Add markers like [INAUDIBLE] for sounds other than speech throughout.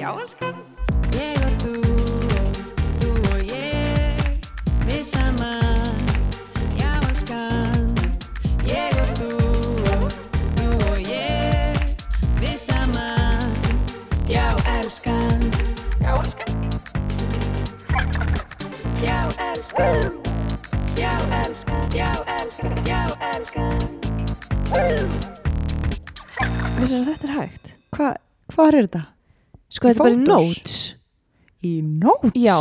Já, elskan. Ég og þú og þú og ég Við saman, já elskan Ég og þú og þú og ég Við saman, já elskan Já elskan Já elskan Já elskan, já elskan, já elskan Vissir að þetta er hægt? Hva, hvað er þetta? Sko, Í þetta er bara í Photoshop? notes. Í nóts? Já,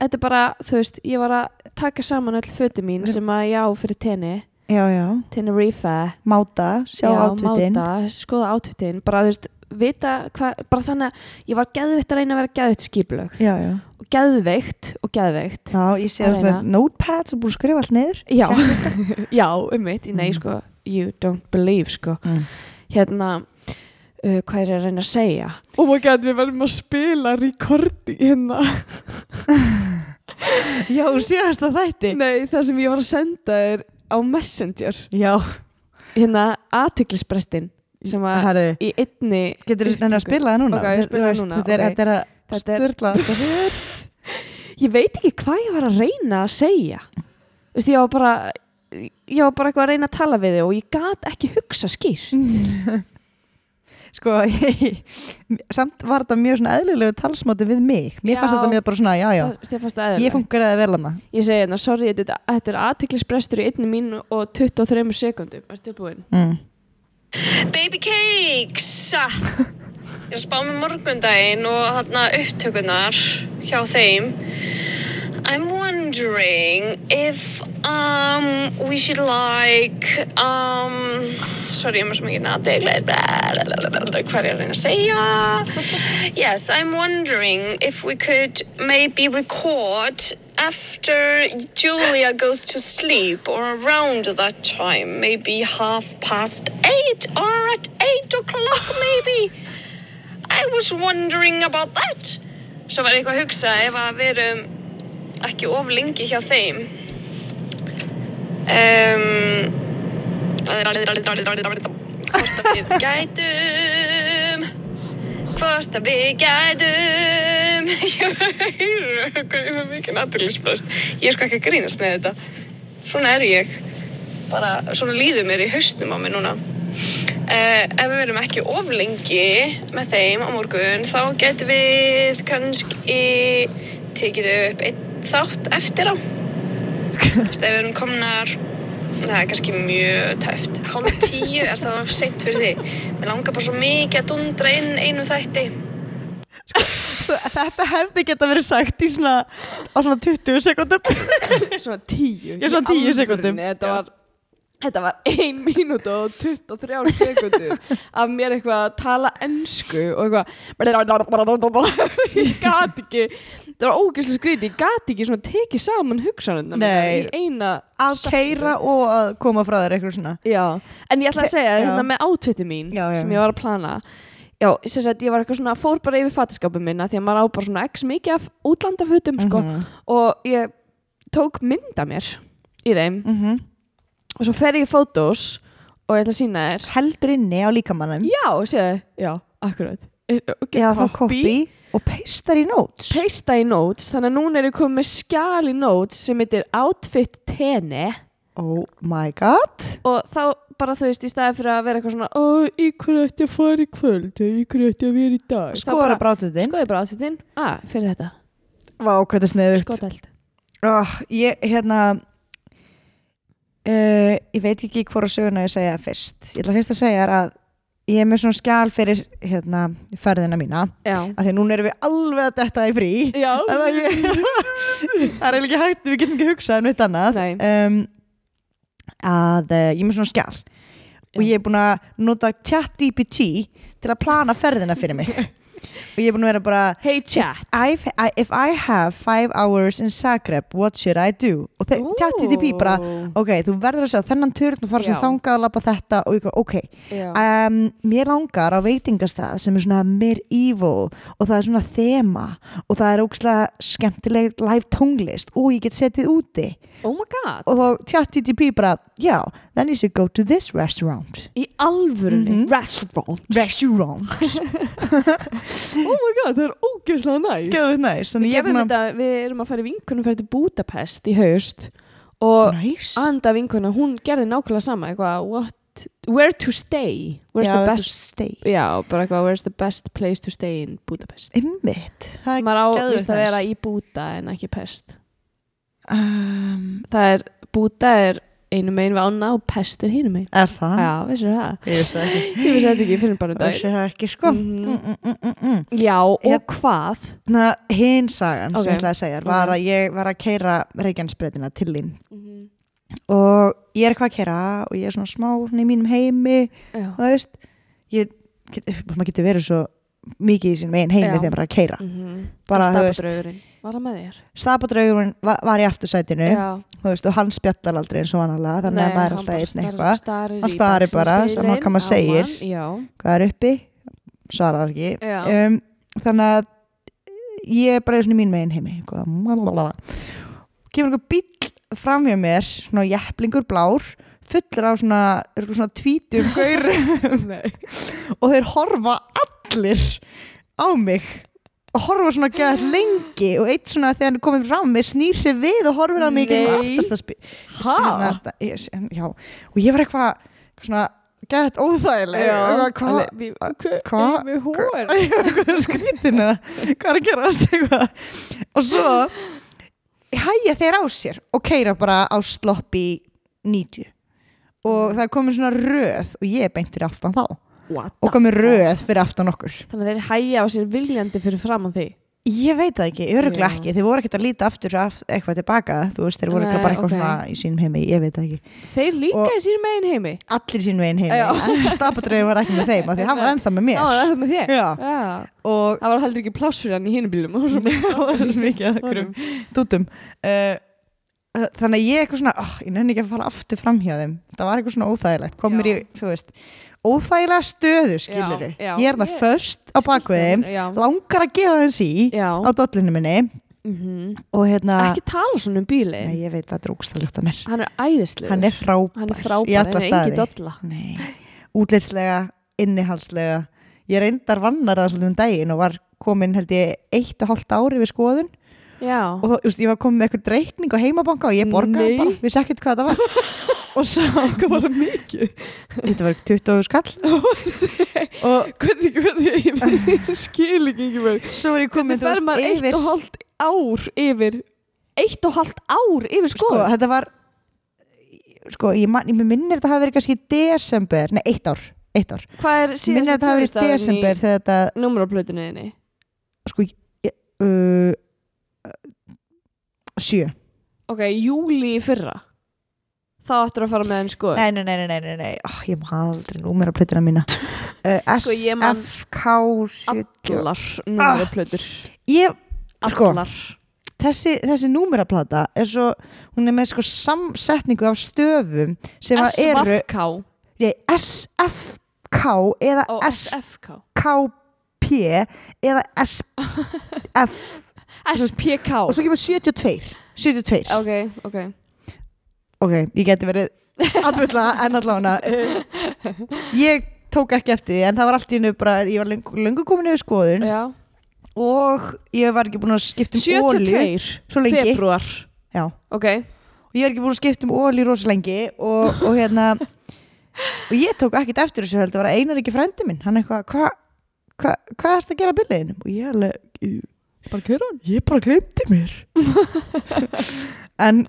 þetta er bara, þú veist, ég var að taka saman öll föti mín sem að ég á fyrir tenni, Já, já. Tenerife. Máta, sjá Já, átvitinn. Máta, skoða átvitin, bara þú veist, vita hvað, bara þannig að ég var geðveitt að reyna að vera geðveitt skiplögð. Já, já. Og geðveikt og geðveikt. Já, ég sé Að allt með reyna. notepads og búin að skrifa allt niður. Já, [LAUGHS] já, um mitt, nei sko, you don't believe sko. Mm. Hérna, uh, hvað er ég að reyna að segja? Oh my god, við verðum að spila rekordi hérna. Já, síðast að þætti. [LAUGHS] nei, það sem ég var að senda er á Messenger. Já, Hérna, aðtiklisprestin sem að herru. í einni Getur þú henni að upptöku. spila það núna? Ok, ég Þú spila það veist, núna, Þetta er, ok. þetta er að Þetta er- styrla. ég veit ekki hvað ég var að reyna að segja Þú veist, ég var bara ég var bara eitthvað að reyna að tala við þig og ég gat ekki hugsa skýrt Sko, ég, samt var þetta mjög svona eðlilegu talsmáti við mig. Mér Já. fannst þetta mjög bara svona, já, já. Það- þér fannst það Ég eðlilegt. fungerði vel hana. ég segi hérna, sorry, þetta, þetta er aðtiklisbrestur í 1 mínu og 23 sekundum er tilbúin Mm. Baby Cakes [LAUGHS] Ég er að spá með morgundaginn og hérna upptökunar hjá þeim I'm wondering if um, we should like um, sorry, ég er með svo mikið nadeiglega hvað er ég að reyna að segja Yes, I'm wondering if we could maybe record after Julia goes to sleep or around that time maybe half past eight or at eight o'clock maybe I was wondering about that Svo var ég eitthvað að hugsa ef að við erum ekki of lengi hjá þeim um, [LAUGHS] Hvort að við gætum Hvort að við gætum Ég er með mikið natúrlisblöst Ég er sko ekki að grínast með þetta Svona er ég bara svona líður mér í haustum á mig núna uh, ef við verum ekki of lengi með þeim á morgun þá getum við kannski tekið upp einn þátt eftir á Þú veist, ef við erum komnar það er kannski mjög tæft hálf tíu er það of seint fyrir því mér langar bara svo mikið að dundra inn einu þætti Þetta hefði geta verið sagt í svona, á svona 20 sekundum. svona 10 Já, svona í 10 alvörunni, sekúndum. þetta var, þetta var 1 mínúta og 23 sekundur af mér eitthvað að tala ennsku og eitthvað ég gat ekki þetta var ógeðslega skrítið, ég gat ekki svona tekið saman hugsanum Nei. í eina Að keira og að koma frá þér eitthvað svona. Já, en ég ætla að segja já. hérna með átviti mín Já, já. sem ég var að plana Já, sem sagt, ég var eitthvað svona, fór bara yfir fatiskapin minna því að maður á bara svona x mikið af útlandafutum Mhm. sko, og ég tók mynda mér í þeim Mhm. og svo fer ég í fótós og ég ætla að sína þér Heldur inni á líkamannum. Já, séðu, já, akkurat okay, Já, þá copy og peistar í notes. Peista í notes, þannig að núna er ég komið með skjal í notes sem heitir Outfit Tene Oh my god. og þá bara þú veist í staði fyrir að vera eitthvað svona "Ó, í hverju ætti að fara í kvöld eða í hverju ætti að vera í dag Skora brátuðinn. skoði Sko, bara átfittinn ah, fyrir þetta, Vá, hvað þetta er sniðugt. skotælt Oh, ég, hérna, uh, ég veit ekki hvora söguna ég segja fyrst. Ég ætla fyrst að segja þér að ég er með svona skjál fyrir hérna, ferðina mína. já, Af því að núna erum við alveg að detta í frí. já [LAUGHS] Það er ekki, það er eiginlega ekki hægt, við getum ekki hugsað um eitt annað. Nei. Um, að uh, ég er með svona skjál og Já. ég er búin að nota ChatGPT til að plana ferðina fyrir mig. og ég er búin að vera bara, hey chat I've, I, if I have five hours in Zagreb, what should I do? Og þeir Ooh. ChatGPT bara, ok, þú verður að sjá þennan turn og fara sem Já. þangað og lappa þetta og ég, ok, Já. um, mér langar á veitingastað sem er svona medieval og það er svona þema og það er ógslag skemmtileg live tónlist og ég get setið úti oh my god, og þá ChatGPT bara, já, then you should go to this restaurant í alvörunni Mhm. [LAUGHS] restaurant restaurant oh my god, það er ógeðslega næs Gjöðu næs, þannig ég hérna- er Gerðum búin að þetta, við erum að fara í vinkunum fyrir til Budapest í haust og Næs anda vinkuna, hún gerði nákvæmlega sama eitthvað, what, where to stay where's Já, the þetta best steik. já, bara eitthvað, where's the best place to stay in Budapest Einmitt Það er maður á geðveikt víst að næs. vera í Búta en ekki Pest um, það er, Búta er einu megin við ána og Pest er hinu megin Er það? já, vissir það, Ég veist það ekki ég vissi þetta ekki fyrir bara um dag Þessi það ekki sko Mhm. mm -mm -mm -mm. -mm. já, Ég- og hvað Þannig að hinn Hérna, sagan sem Ok. ég ætlaði að segja var að ég var að keira Reykjanesbreytina til þín Mhm. og ég er eitthvað að keira og ég er svona smá svona í mínum heimi já, þú veist ég, get, maður getur verið svo mikið í sín megin heimi Já. þegar maður er að keira Mhm. Bara, þú veist- Stapadraugurinn. var það með þér Stapadraugurinn var, var í aftursætinu já, þú veist, og hann spjallar aldrei eins og vanalega Eh, þannig að maður er alltaf einn eitthvað Hann starir bara, sama hvað maður segir. já, hvað er uppi, svarar ekki já, um, þannig að ég er bara svona í mín megin heimi eitthvað, malalala. kemur einhver bíll fram hjá mér svona jepplingur blár fullur af svona, örugglega svona [LAUGHS] tvítum gaurum og þeir horfa allir á mig og horfa svona gæðat lengi og eitt svona þegar hann er komið fram með snýr sér við og horfir á mig í gegnum Nei. aftasta spi- Ha? skrýna- ég- já, og ég var eitthvað eitthvað svona gæðat óþægileg já, Eitthvað, hvað, Hva- við hór [LAUGHS] hvað er skrítin eða hvað er að [LAUGHS] gerast eitthvað og svo hæja þeir á sér og keira bara á sloppi 90 og það er komin svona röð og ég er beint fyrir aftan þá og komin röð fyrir aftan okkur þannig að þeir hæja á sér viljandi fyrir fram á því ég veit það ekki, öruglega Já. ekki þeir voru ekkert að líta aftur af, eitthvað tilbaka þú veist, þeir voru Nei, ekki bara eitthvað ok. svona í sínum heimi ég veit það ekki, þeir líka Og- í sínum eigin heimi allir í sínum veginn Já. heimi stapadröðum var ekki með þeim, af því hann var ennþá með Já, það mér var það með þér Já. og það var heldur ekki pláss fyrir hann í hinu [LAUGHS] bílum og svo bara- [LAUGHS] það var mikið að hverjum dútum uh, þannig að ég eitthvað svona oh, ég nefn ekki að fara aftur fram hjá þeim það var eitthvað svona óþægilegt kom mér í, Já. þú veist óþægilega stöðu skilur Já, já. ég er það Ég- först á bakveðum já, langar að gefa þeim sí já. á dollinu minni mhm. og hérna ekki tala svona um bíli nei, ég veit að það er ógstæljótt að mér hann er æðislegur hann er frábær, hann er frábær, í hann alla er engin staði dolla Nei. útlitslega, innihalslega ég reyndar vannar það svolítið um daginn og var komin held ég eitt og hálft ári við skoðun já, og þú veist, ég var komið með eitthvað reikning á heimabanka og ég borgaði Nei. bara, vissi ekkert hvað það var [LAUGHS] og svo, hvað var það mikið þetta var 20 [LAUGHS] skall og hvernig, hvernig, ég skil ekki ekki verið svo var ég Hvernig komið fer maður eitt og hálft ár yfir Eitt og hálft ár yfir sko, skoðun? þetta var sko, ég, man, ég minnir þetta hafi verið kannski í desember, nei, eitt ár eitt ár, Hvað er minnir þetta hafi verið í desember þegar þetta, Númeraplötunni þinni sko ég, uh, sjö Ok, júli í fyrra Þá ættir að fara með sko. enn skoðun nei, nei, nei, nei, nei, nei, nei. Oh, ég má aldrei númer á plötuna mína [LAUGHS] uh, Sko, ég man- SFK 70 Allar númeraplötur ég Ah. sko. Allar þessi, þessi númeraplata er svo, hún er með sko samsetningu af stöfum sem að eru SFK nei, SFK eða og SFK SKP eða SF [LAUGHS] SPK og svo kemur 72 72, Ok, ok ok, ég geti verið að bulla en allána ég tók ekki eftir því en það var allt í hennu bara, ég var löngu, löngu komin yfir skoðun Já. og ég var ekki búin að skipta um óli 72 svo lengi, februar já Ok, og ég er ekki búin að skipta um ól í rosa lengi og, og hérna og ég tók ekkert eftir þessu heldur var einar ekki frændi minn hann eitthvað, hvað hva, hva er þetta að gera að byrliðinum og ég alveg, ég, bara kjöra hann ég bara glemdi [LAUGHS] mér en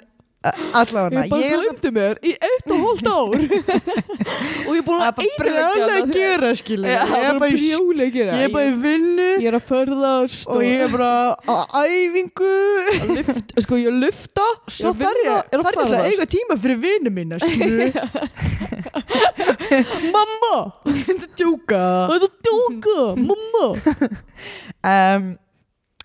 allavega Ég bara ég er glemdi mér í eitt og hálft [LAUGHS] ár Og ég er búin það að bara brjálega að gera skilu Já, ég er bara í sk- brjóla að gera ég er bara í vinnu Ég er að ferðast og ég er bara á æfingu að lyft, sko ég er að lyfta svo þarf ég er að þarf ég að eiga ferðast tíma fyrir vinnu mína [LAUGHS] skilu mamma, þetta djúka það er að djóka Mhm. mamma, um,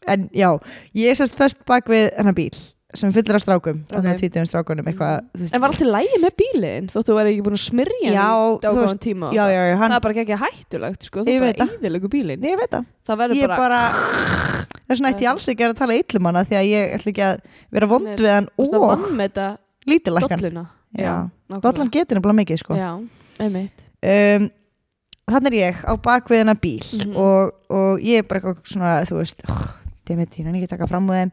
en já, ég er sérst fyrst bak við hennar bíl sem fyllir af strákum Ok. okay. þannig að tvítum strákunum eitthvað þú veist- en var alltaf lægi með bílinn þóttu væri ekki búin að smyrja Já, hann í þú dágóðan veist- tíma já, já, já, það hann, er bara ekki hættulegt Ég sko, þú veit bara það. eðilegu bílinn Nei, ég veit það ég það verður bara, bara, þess vegna ætti ég alls ekki að taka illum hana því að ég ætla ekki að vera vond Hann er- við hann bara það og vann með þetta lítilækkan dolluna Já, nákvæmlega. sko. dollan getur nefnilega mikið sko já, einmitt um, þannig er ég á bakviðina bíl Mhm. og, og ég er bara eitthvað svona, þú veist oh, demit, ég nenni ekki að taka fram úr þeim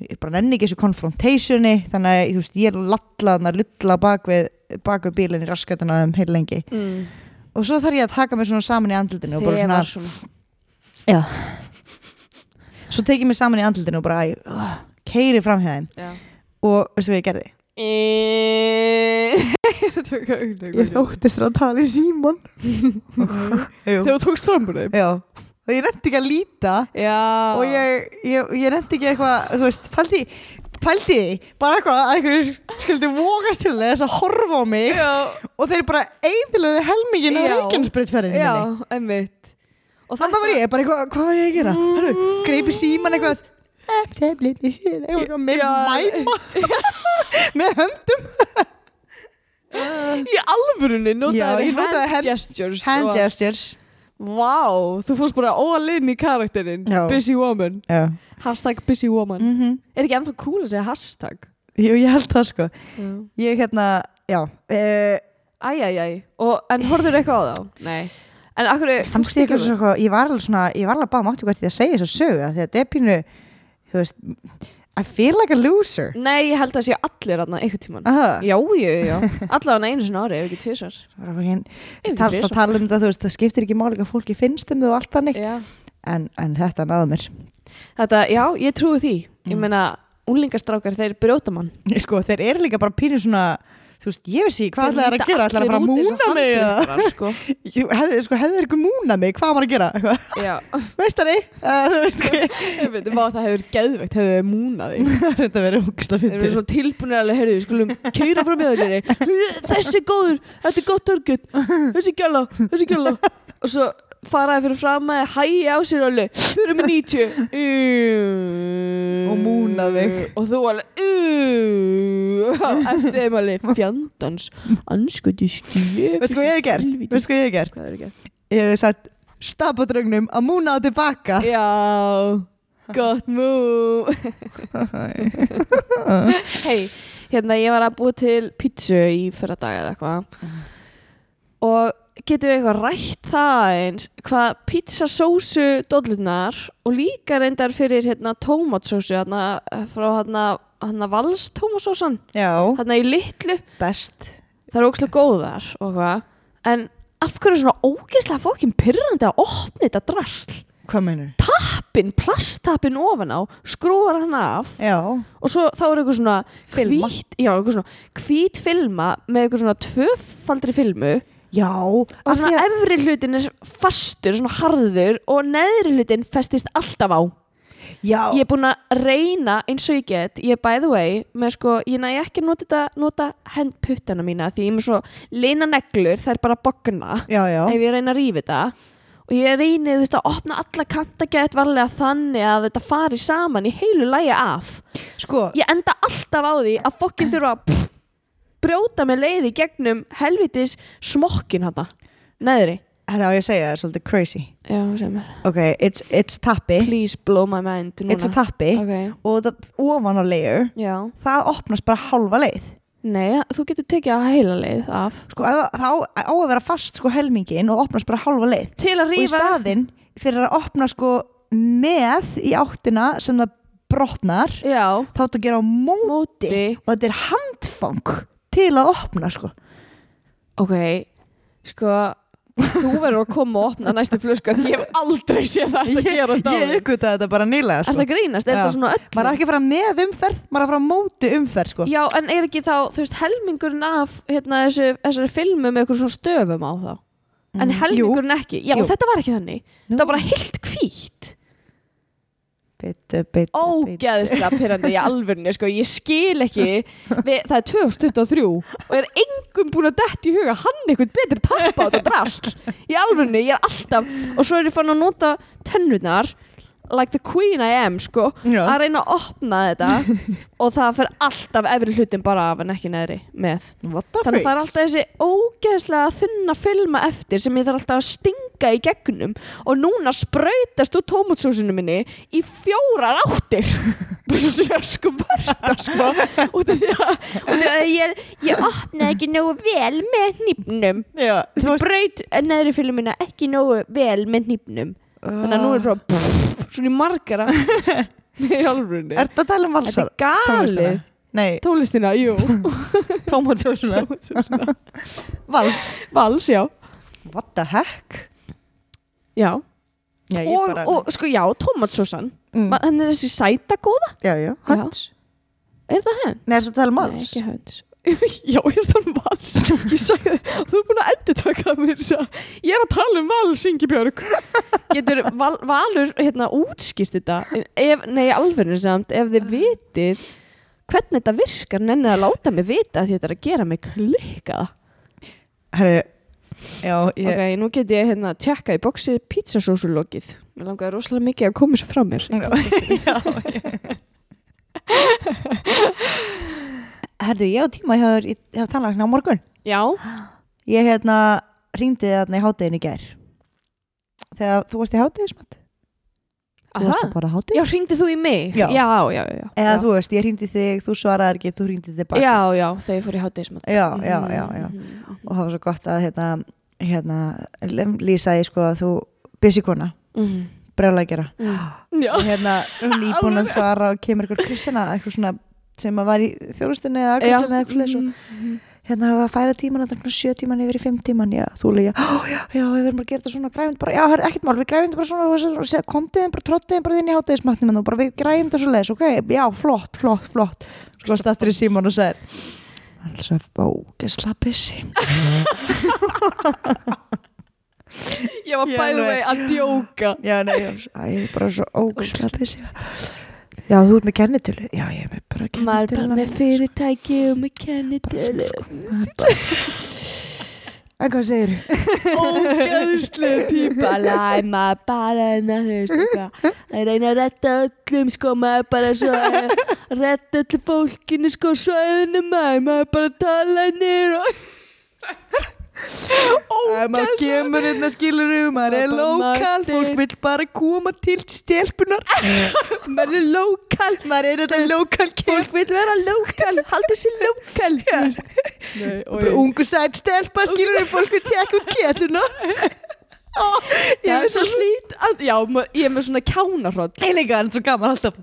ég bara nenni ekki þessu konfrontationi þannig að þú veist, ég er lallaðan að lulla bakvið bakvið bílinn í raskatina um heil lengi mm. og svo þarf ég að taka mig svona saman í andlutinu og bara svona, Þegar svona svo tek ég mig saman í andlutinu og bara æ, oh, keiri fram hjá þeim Já. og veistu hvað ég gerði? Eh, [LAUGHS] Ég þóttist að tala í [LAUGHS] [LAUGHS] síman Þegar þú tókst fram úr þeim Já, og ég nefndi ekki að líta Já og ég, ég, ég nefndi ekki eitthvað þú veist, pældi, pældi því, bara eitthvað að einhverjir skildi vogast til þess að horfa á mig Já, og þeir bara eðilöðu helmingin á Já. reikjansbrytferðinni já minni einmitt Og þannig var ég bara eitthvað, hvað er ég að gera? Hörru, greipi síman eitthvað eh, sem liti sín, eitthvað, eitthvað, með Já. mæma [LAUGHS] með höndum Í alvörunni Já, notaði ég notaði hand- hand gestures hand og- gestures Vá, þú fórst bara all in í karakterinn Já. Busy woman Já. Hashtag busy woman Mm Er ekki ennþá cool að segja hashtag? Jú, ég held það sko Já. ég hérna, já uh, Æj, æj, æj Og- En horfður eitthvað á þá? Nei En akkur fannst ég eitthvað svona, eitthvað- ég var alveg svona, ég var alveg bara mátti hvert ég að segja þess að sögu af því að þetta er pínu, þú veist I feel like a loser Nei, ég held að séu allir aðna einhvern tíman Aha, Já, já, já Allavega einu sinni ári, ef ekki tvisar bara fokkin- Ef ekki tal- þá tvisvar. tala um þetta, þú veist, það skiptir ekki máli hvað fólki finnst um þau og allt þannig Já en, en þetta náðu mér [LAUGHS] Þetta, já, ég trúi því Mm. Ég meina, unlingastrákar, þeir brjóta mann sko, þeir eru líka bara pínu svona þú veist, ég veist ekki, hvað ætlaði þær að gera ætlaði að fara að múna mig eða? [LAUGHS] mig sko. Ég- hefði sko, hefði þeir ekki múna mig, hvað á maður að gera Eitthvað, [LAUGHS] Já, veistari, uh, þú veist [LAUGHS] [LAUGHS] ekki ég veit, vá, það hefur geðvegt hefur þau múnað þig þetta verður ógislega Þeir eru fyrir svo tilbúinir alveg, heyrðu, við skulum keira fram með þessari Þessi er góður, þetta er gott örgjut Þessi gæla, þessi gæla Og svo faraði fyrir fram að hæja á sér alveg Þau eru með 90 Og múna þig. Og þú alveg "Ú", Eftir þeim alveg fjandans Anskuti skjöf veistu hvað ég hef gert, veistu hvað ég hef gert Hvað er ekki? ég hefði sagt stað á draugnum að múna á tilbaka Já, gott mú Hei, hérna ég var að búa til pítsu í fyrra dag eða eitthvað og getum við eitthvað rætt það eins hvað pítsasósu dollurnar og líka reyndar fyrir hérna tómatsósu hérna frá hérna, hérna valstómasósan [LAUGHS] já, hérna í litlu best það eru ógæslega góðar og hvað en af hverju er svona ógæslega fókin pyrrandi að opna þetta drasl hvað meinur? tappin, plasttappin ofan á skrúar hann af já, og svo þá er eitthvað svona Filma. hvít, já, eitthvað svona hvít filma með eitthvað svona tvöfaldri filmu já og af því svona að- efri hlutin er fastur, svona harður og neðri hlutin festist alltaf á já, ég er búin að reyna eins og ég get ég er by the way, með sko, ég næ ekki að nota, þetta- nota hendputtana mína því ég er með svo lina neglur, það er bara að bogna já, já, ef ég reyna að rífa þetta og ég reyni þú veist að opna alla kanta gett varlega þannig að þetta fari saman í heilu lægi af sko ég enda alltaf á því að fokkin þurfa að pff, brjóta með leiði gegnum helvitis smokkin hann neðri hérna á ég að segja það er svolítið crazy já, sem er ok, it's, it's tappi please blow my mind núna it's a tappi ok, og það ofan á layer já það opnast bara hálfa leið nei, þú getur tekið að heila leið af sko, ef það það á, á að vera fast sko helmingin og opnast bara hálfa leið til að og í rífa staðinn fyrir að opna sko með í áttina sem það brotnar já, þá áttu að gera á móti, móti og þetta er handfang til að opna sko ok, sko þú verður að koma og opna næstu flösku af því ég hef aldrei séð þetta að gera [LAUGHS] ég uppgötaði þetta bara nýlega Er sko. það grínast? Er Já. það svona maður er öll? ekki að fara með umferð maður er að fara á móti umferð sko. Já, en er ekki þá, þú veist, helmingurinn af hérna, þessu, þessari filmu með eitthvað svona stöfum á þá? En Mm, helmingurinn ekki? Já, Jú. þetta var ekki þannig. Nú. Þetta var bara heilt hvít. bitu, bitu, bitu. Ógeðslega pyrrandi í alvörinu, sko. Ég skil ekki. [LAUGHS] Við, það er 2023 og er engum búin að detta í huga hann eitthvað betri tappa á þetta drast. Í alvörinu, ég er alltaf, og svo er ég fann að nota tennurnar, like the queen I am, sko. Já. að reyna að opna [LAUGHS] þetta og það fer alltaf efri hlutin bara af en ekki neðri með What the þannig að það er freak? alltaf þessi ógeðslega þunna filma eftir sem ég þarf alltaf að stinga lunga í gegnum og núna sprautast úr tómatsósinu minni í fjórar áttir [LAUGHS] bara svo sér sko verða sko út af því að, út af því að ég, ég opnaði ekki nógu vel með hnýpnum Já, þú veist braut neðri fyrir minna ekki nógu vel með hnýpnum þannig að nú er bara pff, svona í margara [LAUGHS] í alvörunni Ertu að tala um þetta valsar? er galið Nei, tónlistina, jú [LAUGHS] tómatsjósuna Vals vals, já, What the heck? já. Já, ég Og, bara- og sko já, tómatsósan Mm. mm. hann er þessi sæta góða Já, já, hönds er það hans? Nei, ertu að tala um Nei, vals? ekki höns [LAUGHS] Já, ég er að tala um [LAUGHS] vals Ég sagði, þú er búin að endurtaka það mér svo. Ég er að tala um vals, Ingi Björg [LAUGHS] Getur val, valur hérna, útskýrt þetta ef, Nei, alveg samt, ef þið vitið hvernig þetta virkar, nennið að láta mig vita því þetta er að gera mig klikka Herri, já, ég Ok, nú get ég hérna tjekka í boxið pizzasósulokið Mér langaði rosalega mikið að koma sér frá mér Já, já, Herðu, ég á tíma hjá þér í- hjá tannlækna á morgun. Já, Ég hérna ringdi þarna í hátæðin í gær. Þegar þú varst í hátæðismat. Þú varst aha að bara Já, hátæðin. hringdi þú í mig? Já. já, já, já. Eða já. þú veist, ég ringdi þig, þú svaraði ekki, þú ringdi tilbaka. Já, Mhm. já, þegar ég fór í hátíðismat Já, já, já, já. Og það var svo gott að hérna, hérna, lem- lýsaði sko að þú busy kona, brjálæg gera. Mhm. Já, Og hérna, [LAUGHS] hún er íbúin að svara og kemur ykkur Kristina, eitthvað svona sem að var í þjóðlustinni eða Kristina eða eitthvað slið Mhm. hérna að færa tíman að sjö tíman yfir í fimm tíman já, þú leið, já, já, já, við verðum bara að gera þetta svona græfum þetta bara, já, herr, ekkert mál, við græfum þetta bara svona og svo- svo- komdu þeim bara, trottu þeim bara inn í hátæðismatnum en þú bara, við græfum þetta svo leiðis, ok já, flott, flott, flott, sko varst aftur í síman og segir alls að bókesla pissi Ég var Ég bæðið alveg- með að djóka já, nei, já, svo- æ, ég er bara svo ókesla pissi já, þú ert með kennitölu já, ég er með bara Maður kennitölu bara með fyrirtæki og með kennitölu en hvað segir þú? Ógæðslega típa Læma bara en að þú veist eitthvað Að reyna að retta öllum sko Maður bara svo að retta öllu fólkinu sko Svæðinu maður Maður bara tala niður og maður kemur hérna skilur um, maður er lokal, fólk vill bara koma til stelpunar Maður er lokal maður er þetta lokal Fólk vil vera lokal Haldur sér lokal þú veist. Nei, og ég- ungu sætt stelpa skilur við fólk við tjekk um [LAUGHS] kjelluna Ó, ég Það er er svo svo hlýt að- Já, ma- ég er með svona kjánarhrótt heilinga en svo gaman alltaf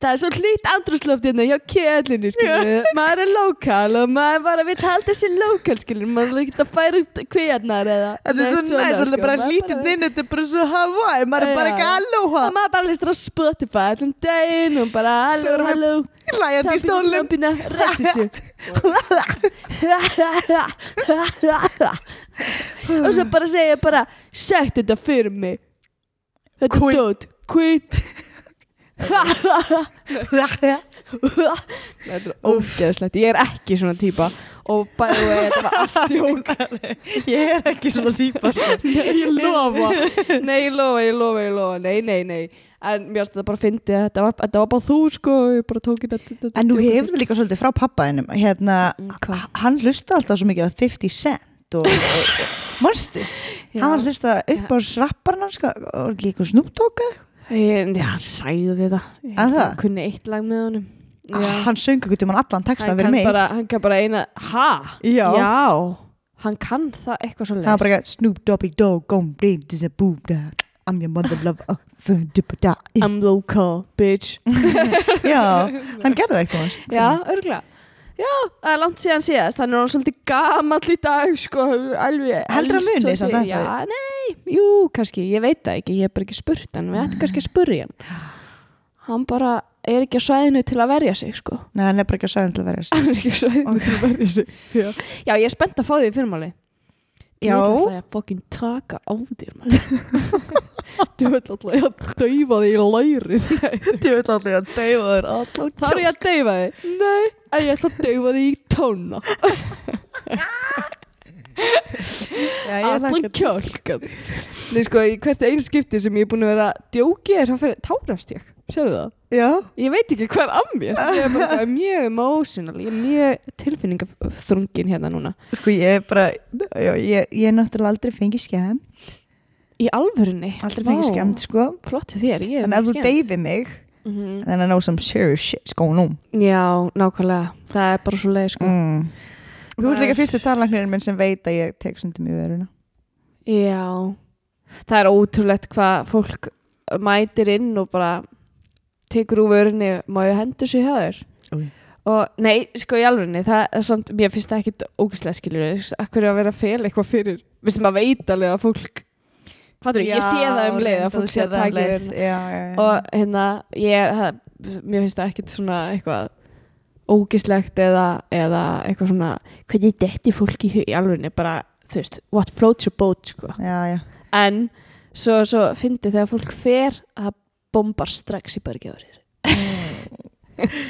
Það er svo hlýtt andrúsloftinu hjá kjellinu, skilur Maður er lokal og maður bara vill halda sér lokal, skilur Maður er ekkert að færa út kviðarnar eða þetta er svo neitt næst, þetta er sko. bara Maður lítið inn þetta er bara svo Hawaii, maður er bara Já. ekki aloha Og maður bara listur á Spotify allan daginn og bara Svo halló, erum við halló hlæjandi í stólum Tampina, rættu sig [LAUGHS] [LAUGHS] Og svo bara segja ég bara Sett þetta fyrir mig Þetta Queen. er dót [LAUGHS] Queen Þetta er [LAUGHS] ógeðslegt Ég er ekki svona típa Og bæði og þetta var allt jók ég er ekki svona típa sko. Ég lofa Nei, ég lofa, ég lofa, ég lofa Nei, nei, nei En mér finnst þetta bara fyndið að Þetta var, þetta var bara þú sko Ég bara tók þetta þetta- en þú þetta- hefur líka svolítið frá pappaðinum hérna, Mm, hvað? hann hlusta alltaf svo mikið á 50 cent og, og, og manstu, [LAUGHS] Já. hann hlusta upp á rapparna sko, og ekki eitthvað snúptóka Ég, já, hann sagði þetta Er Ég það? Ah, kunni eitt lag með honum Já. hann söng ykkur tíma allan texta fyrir kann mig bara, hann kann bara eina Ha? Já. Hann kann það eitthvað svo Það var bara eitthvað Snoop Doggy Dogg Gone Brain This a boob da I'm your mother love Oh so dippa [LAUGHS] da I'm local, bitch Já, hann gerði það eitthvað Já, örgulega Já, það er langt síðan síðast Hann er hann svolítið gamall í dag sko, alveg, Heldur hann elst muni svolítið. samt ennþá? Já, nei, jú, kannski, ég veit það ekki Ég hef bara ekki spurt hann, við ættum kannski að spurja hann Hann bara er ekki á svæðinu til að verja sig sko. [LAUGHS] Nei, hann er bara ekki að sæðan til að verja sig Hann er ekki á svæðinu til að verja sig Já, Já ég er spennt að fá því í fyrirmáli Já. Þú ætlaði að fokkin taka á þér maður. Þú ætlaði að dæfa þig í lærið Ég vil allir að deyfa þér allan Þá er ég að dæfa þig Nei, en ég ætla að dæfa þig í tóna Já, ég er Allan kjálkan Nei sko, í hvert einu skipti sem ég er búin að vera að djóki er að fyrir tárast ég Sérðu það? Já Ég veit ekki hvað er að [LAUGHS] mér Ég er bara eitthvað mjög emotional Ég er mjög tilfinningaþrungin hérna núna Sko, ég er bara já, ég, ég er náttúrulega aldrei fengið skemm Í alvörunni? Aldrei fengið Vá. skemmt sko Flott hjá þér, ég er Þannig ef ekki þú deyfi mig Mhm. Then I know some serious shit's going on Já, nákvæmlega, það er bara svo leið sko. mm. Þú ert Það líka er- fyrsti talangnirinn minn sem veit að ég tek sundum í veruna Já, það er ótrúlegt hvað fólk mætir inn og bara tekur úr vörunni, má ég hendur sér hjá þér? Oj. Og nei, sko í alvörunni, það er samt, mér finnst það ekkit ógæslega skilur, akkur er að vera að fela eitthvað fyrir, veistu maður veit alveg að fólk, fattur, ég sé það um leið að fólk sé að taka Já, um þér já, já og hérna, ég, það, mér finnst það ekkit svona eitthvað ógislegt eða, eða eitthvað svona, hvernig detti fólk í, hug- í alvörunni, bara, þú veist, what floats your boat, sko Já, já en svo, svo fyndi þegar fólk fer að það bombar strax í börgjáður [LAUGHS]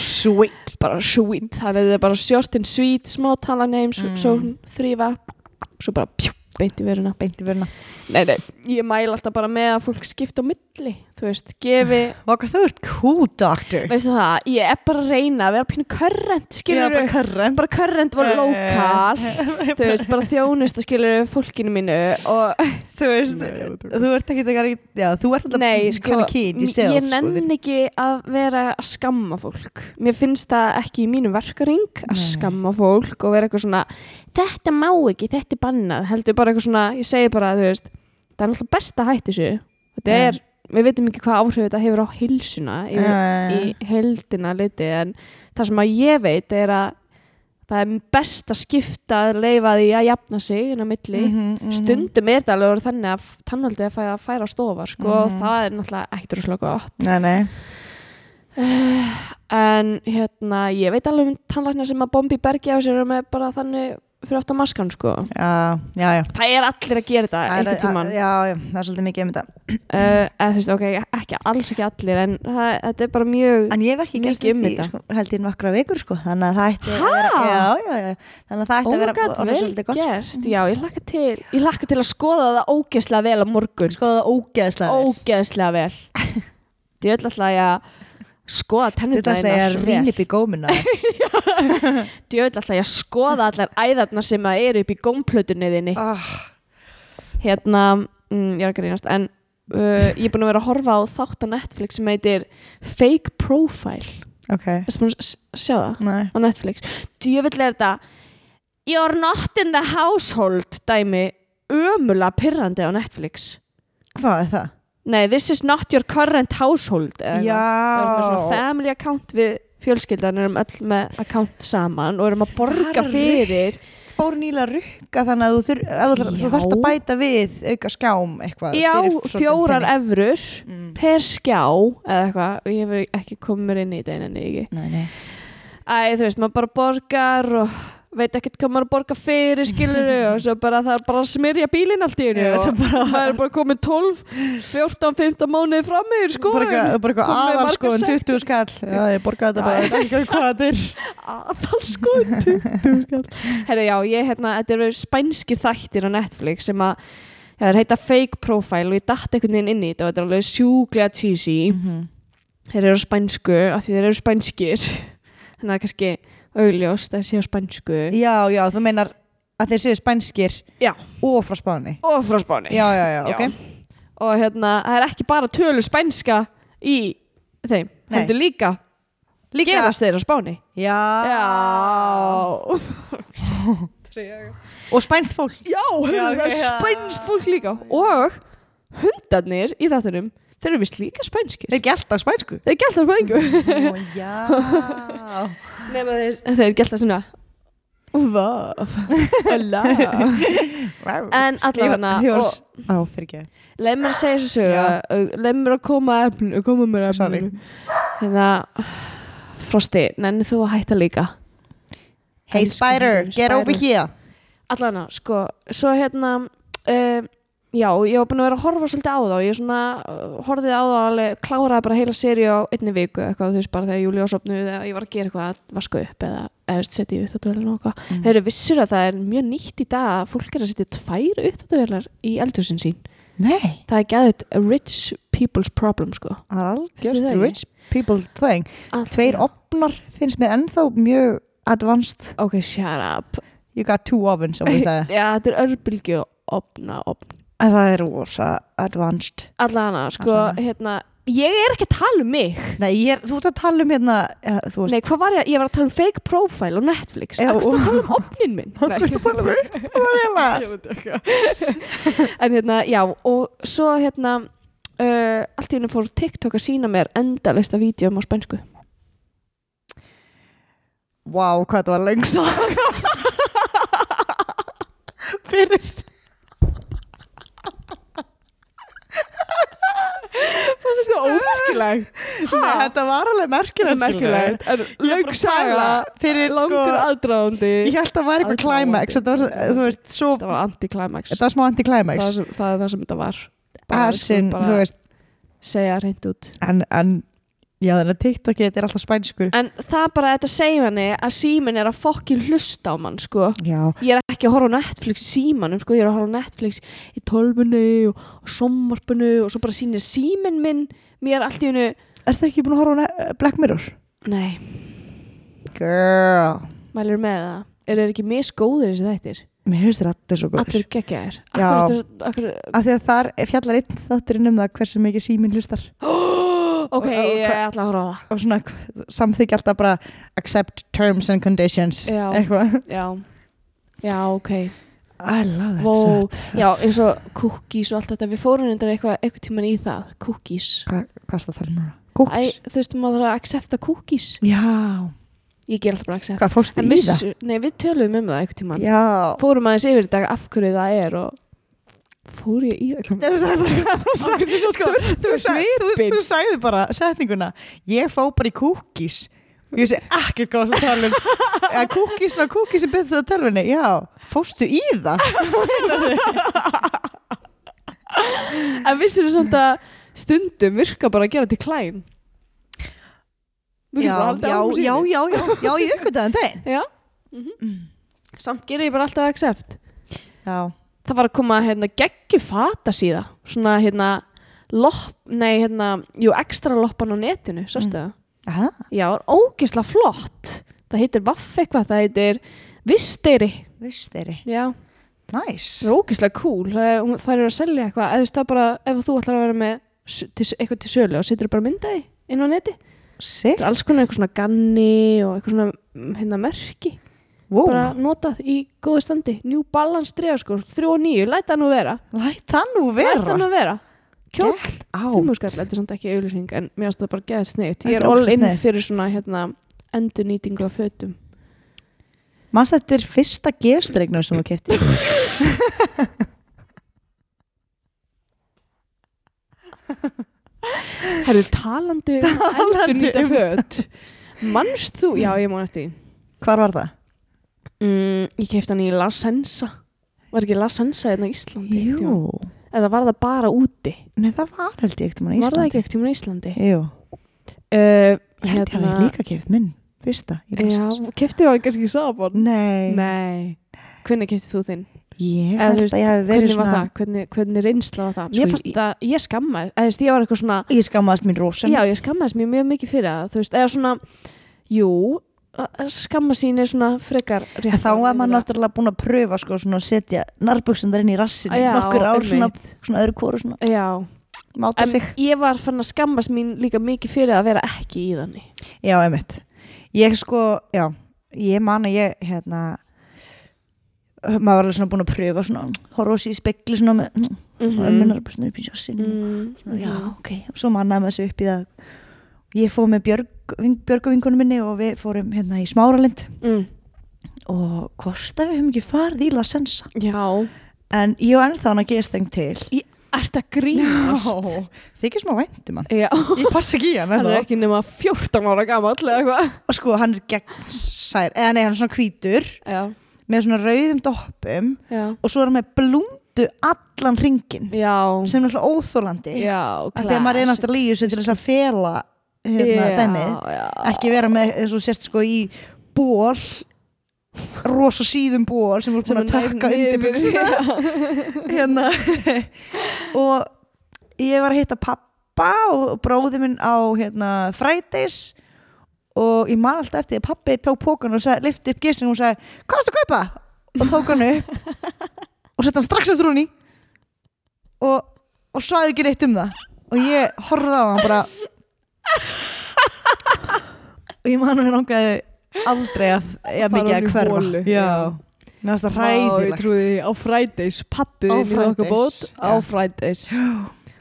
sweet bara sweet, þannig að það er bara short and sweet smá tala neim, svo, Mm. svo hún þrýfa svo bara pjú, beint í veruna Beint í veruna nei, nei, ég mæla alltaf bara með að fólk skipta á milli, þú veist, gefi [LAUGHS] Vakar þú ert cool doctor veistu það, ég er bara að reyna að vera pínu körrent, Já, skilur bara Eh, körren bara körrent var Já, já, lokal já. þú veist, bara þjónust að skilur fólkinu mínu og Þú veist, Nei, ég veit ekki. þú ert ekki þegar Já, þú ert alltaf Nei, sko, kind of kid yourself ég sko, nenn við- ekki að vera að skamma fólk. Mér finnst það ekki í mínum verkaring að Nei. skamma fólk og vera eitthvað svona, þetta má ekki, þetta er bannað, heldur bara eitthvað svona, ég segi bara, þú veist, það er náttúrulega best að hætti þessu. Þetta Já. er, við veitum ekki hvað áhrif þetta hefur á heilsuna Já, yfir, já, já. í heldina liti, en það sem að ég veit er að það er best að skipta að leifa því að jafna sig inn á milli Mhm, mhm. stundum er þetta alveg orðið þannig að tannhaldið er að færa, færa stofa sko, og Mhm. það er náttúrulega ekkert [SIGHS] rosalega gott Nei, nei en hérna, ég veit alveg um tannlækna sem að bombi bergi á sér og með bara þannig fyrir aftan maskan sko Já, já, já það er allir að gera þetta Það er- einhvern tímann uh, Já, já, það er svolítið mikið um þetta eða þú veist, ok, ekki alls ekki allir en það, þetta er bara mjög En ég hef ekki gert Mikið um því, þetta. sko, held ég nokkra vikur sko, þannig að það ætti Ha? að vera já, já, já, þannig að það ætti að vera ógat orðið vel svolítið gott sko. gert já, ég hlakka til, ég hlakka til að skoða það ógeðslega vel á morgun Skoða það ógeðslega vel. ógeðslega vel [LAUGHS] ég vil alltaf að skoða Þetta tennirna ætla ég að þínar vel. rýna upp í gómina [LAUGHS] djöðl alltaf ég að skoða allar æðarna sem að eru upp í gómplötunni þinni oh, hérna, mm, ég er að grínast en uh, ég er búin að vera að horfa á þátt á Netflix sem heitir Fake Profile Ok, Erstu búin að s- sjá það nei á Netflix djöðl er þetta You're not in the household dæmi ömulega pirrandi á Netflix Hvað er það? Nei, this is not your current household eða eitthvað. Það er með svona Já family account við fjölskyldan erum öll með account saman og erum að borga Þar er fyrir Fór nýla að rukka þannig að þú, þur, að þú, þú Já. þarft að bæta við auka skjám eitthvað Já, fyrir svolítinn fjórar pening. efrur Mm. per skjá eða eitthvað og ég hef ekki komið mér inn í þetta en ekki. Nei, nei Æ, þú veist, maður bara borgar og veit ekkert hvað maður borgar fyrir skilur [LAUGHS] og svo bara það er bara að smyrja bílinn allt í hennu Já, og svo bara- maður er bara komið 12, 14, 15 mánuði fram með þér Bara eitthvað- skoðun bara eitthvað Komið með margar aðalskoðun, sektir. 20 skall Já, ég borgaði þetta bara, ég veit ekki hvað þetta er aðalskoðun 20 sko, skall. Herra, já, ég, hérna, þetta eru spænskir þættir á Netflix sem að Já, það heita fake profile og ég datt einhvern veginn inn í þetta og þetta er alveg sjúklega cheesy þeir eru á spænsku af því þeir eru spænskir þannig að það er kannski augljóst að sé á spænsku Já, já, þú meinar að þeir séu spænskir Já. og frá Spáni og frá Spáni Já, já, já, ok og hérna, það er ekki bara tölu spænska í þeim Nei. heldur líka, Líka gerast þeir á Spáni Já. Já Og spænst fólk Já, heyrðu, það er já. spænst fólk líka og hundarnir í þáttunum þeir eru vist líka spænskir Þeir ekki alltaf [LAUGHS] spænsku þeir gælt það [LAUGHS] spænsku Ó, já nema þeir, þeir gælt það svona Vaf, hella En allavega Ég var og- Á, fyrir ekki Leif mér að segja þessu sögu Leif mér að koma að efnu Koma mér að Sorry. efnu Hérna Frosti, nenni þú að hætta líka Hey Elsku spider, hundur, get spider. over here Allana, sko Svo hérna um, Já, ég var búin að vera að horfa svolítið á þá Ég svona uh, horfið á þá alveg Kláraði bara heila séri á einni viku Eitthvað þú veist bara þegar Júli ásopnu Eða ég var að gera eitthvað að vaska upp Eða eða setja í uppdáttuvelinu og eitthvað Mm. Þeir eru vissur að það er mjög nýtt í dag að Fólk er að setja tvær uppdáttuvelar í eldursin sín Nei Það er gæðið rich people's problem sko Það er Finnst þér algjörst það rich people thing Allt- Tveir já. opnar finnst mér ennþá mjög advanced ok, shut up You got two ovens over there já, þetta er örbylgju opna opn [LAUGHS] En það er rosa advanced. Allavega, sko, Allavega. hérna Ég er ekki að tala um mig Nei, ég er, þú ert að tala um hérna, ja, þú veist, Nei, hvað var ég? Ég var að tala um fake profile á Netflix Já, Ég var og- að tala um opnin [LAUGHS] minn Nei, hvað ertu að tala um? það var hérna. Ég veit ekki. En hérna, já, og svo hérna uh, Allt í henni fór TikTok að sína mér endalista vídjum á spænsku um- Vá, hvað þetta var lengs saga. [LAUGHS] Fyrir. Það er svo ómerkileg Nei, þetta var alveg merkilegt, skilurðu. Merkilegt, en Ég er bara lög að saga pæla fyrir, sko- Langur aðdráðandi Ég held að það var eitthvað Aðdáandi. klæmæks, þetta var, svo- þú veist, svo, Það var anti-climax þetta var smá það, anti-klæmæks. sem, það er það sem þetta var Bara, Asinn, sko, þú bara veist, segja hreint út en, en, já, þannig að TikTok þetta er alltaf spænskur. en það bara þetta segja henni að síminn er að fokkin hlusta á mann sko Já, ég er ekki að horfa á Netflix í símanum sko, ég er að horfa á Netflix í tölvunni og, og sommarpinu og svo bara sýnir síminn minn mér allt í hennu er það ekki búin að horfa á ne- Black Mirror? nei, Girl. mælur með það eru þeir ekki misgóðir þessi þættir Mér finnst þér allir svo góður. allir geggjaðir Já. Akkur er þetta- akkur- Af því að þar fjallar einn þátturinn um það hversu mikið síminn hlustar [GASPS] Og- ok, og ég hvað- ætla að horfa á það og svona samþykja alltaf bara accept terms and conditions Já. eitthvað. já, já ok I love that Vó, shit. já, eins og cookies og allt þetta við fórum reyndar eitthvað, eitthvað tíman í það cookies Hva- Hvað er það að tala um núna? Æ, Cookies? þú veist, maður þarf að accepta cookies Já. ég ger alltaf bara að accepta Hvað fórstu En í það? missu- nei, við töluðum um það eitthvað tíman Já. fórum aðeins yfir þetta af hverju það er og fór ég í það Þú sagði bara hvað þú sagði. Sko, þú, sagði þú, svipinn. þú sagði bara setninguna ég fó bara í cookies og ég sé ekkert hvað þú tala [LAUGHS] um Eða cookies var cookies er betur að tölvunni já, fórstu í það [LAUGHS] en vissir þú samt að stundum virka bara að gera til klæn já, já, já, já, já, já, ég uppgötaði en daginn Mm. já. Mhm. samt gerir ég bara alltaf accept já, það var að koma hérna geggi fata síða svona hérna lopp, nei hérna, jú ekstra loppan á netinu, sástu Mm. það? aha Já, ógisla flott það heitir vaff eitthvað, það heitir visteyri, Viss þeirri. já, Næs. það er ógisla cool það, er- hún- það eru að selja eitthvað, eða þú veist það bara ef þú ætlar að vera með s- til, eitthvað til sölu og setur bara myndaði inn á neti Sitt. það er alls konar eitthvað svona ganni og eitthvað svona mm, hérna merki Wow. bara notað í góðu standi New Balance 3 sko, 3 og 9, læta hann nú vera Læt það nú vera. Læta hann að vera Kjóll, Gekk á. fimmuskall, þetta er samt ekki auðlýsing en mér finnst það bara geðið sniðut Ég Þetta er er all ógeðslega in sniðugt. fyrir svona hérna, endurnýtingu af fötum Manst þetta er fyrsta gerstregnum sem þú kefti. [LAUGHS] Það eru talandi um að Talandi endurnýta um- föt [LAUGHS] Manst þú? Já, ég man eftir því. Hvar var það? mm, Ég kefti hann í La Senza Var ekki La Senza hérna á Íslandi? einhvern tímann? Eða var það bara úti? Nei, það var held ég ekkert um hann í Var það Íslandi. ekki ekkert tíma á Íslandi? Jú. Uh, Ég held ég hafi líka keft minn. Fyrsta. í Las Já, Vegas. kefti það kannski sabon? Nei. Nei Hvernig kefti þú þinn? Ég Eða, þú held veist, að ég hafi verið hvernig var svona... það, hvernig, hvernig reynsla var það Sko, mér fannst ég- þetta, ég skammaði eða þú veist, ég var eitthvað svona, Ég skammaðist mín rosa. já ég skammaðist mér mjög mikið fyrir það, þú veist, eða svona jú, skamma sín er svona frekar rétt En Þá var maður náttúrulega búin að pröfa sko, svona, að setja narbuksin inn í rassinu Já, nokkur ár svona, einmitt. svona öðru kóru svona, já, máta en sig ég var fann að skammast mín líka mikið fyrir að vera ekki í þannig Já, emitt. Ég sko, já, ég man að ég, hérna, maður var alveg svona búin að pröfa svona, horfa á sér í spegli svona með, mm, mm -hmm. Mhm. minnar bara svona upp í sjassinu. mm, Já, ok, og svo mannaði maður sig upp í það. Ég fóð með Björg, ving, Björgu vinkunum minni og við fórum hérna í Smáralind mm, og hvort að við höfum ekki farið í La Sensa. já, En ég var ennþá hann að geðast þeng til. ert að grínast Þykir smá væntum hann. já, Ég passa ekki í hann, [LAUGHS] hann er eða? ekki nema 14 ára gamall eða eitthvað Og sko, hann er gegnsær, eða nei, hann er svona hvítur. já, með svona rauðum doppum já, og svo er hann með blúndu allan ringin já sem er alltaf óþólandi Já, af því að maður er náttúrulega í þessu til þess að fela hérna, dæmið ekki vera með eins og sért sko í ból rosa síðum ból sem voru búin að taka undir buxurnar, [LAUGHS] [LAUGHS] hérna og ég var að hitta pappa og bróði minn á hérna Fridays og ég man alltaf eftir því að pappi tók pókan og sagði, lifti upp gistinu og sagði hvað erstu að kaupa? og tók hann upp og sett hann strax eftir hún í og, og sagði ekki neitt um það og ég horfði á hann bara og ég man að mér langaði aldrei að, að mikið að hverfa já, mér fannst það Ræðilegt. Ég ræðilegt trúi því á Fridays, pappi Á þinn í okkar Fridays, bót á já. Fridays.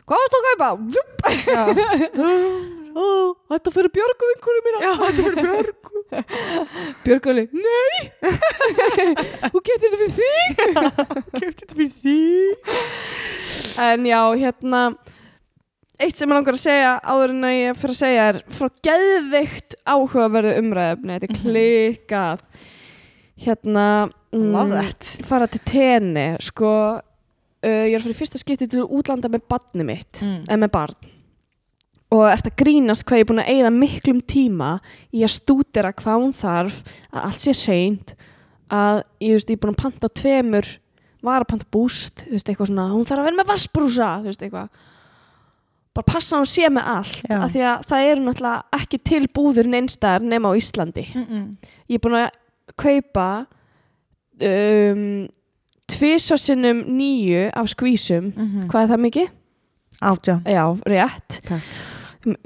Hvað varst þú að kaupa? Vjup, já, [LAUGHS] ó, Þetta fyrir Björgu vinkunum mína. Já, þetta fyrir Björgu. Björgu alveg, [LAUGHS] nei, þú getur þetta fyrir þig. kefti þetta fyrir því En já, hérna, eitt sem ég langar að segja áður en að ég fyrir að segja er frá geðveikt áhugaverðu umræðefni. Þetta er Mhm. klikkað. Hérna, love mm, that fara til tenni, sko, uh, ég er fyrir fyrsta skipti til útlanda með badni mitt. mm. en með barn og ert að grínast hvað ég er búin að eigða miklum tíma í að stúdera hvað hún þarf að allt sé reynd að ég, þú veist, ég er búin að panta tveimur var að panta búst, þú veist, eitthvað svona hún þarf að vera með vassbrúsa, þú veist, eitthvað bara passa að hún sé með allt Já. af því að það eru náttúrulega ekki til búður neinstæðar nema á Íslandi Mm ég er búin að kaupa um, tvisvarsinnum nýju af skvísum -hmm. hvað er það mikið? átján Já, rétt. Takk.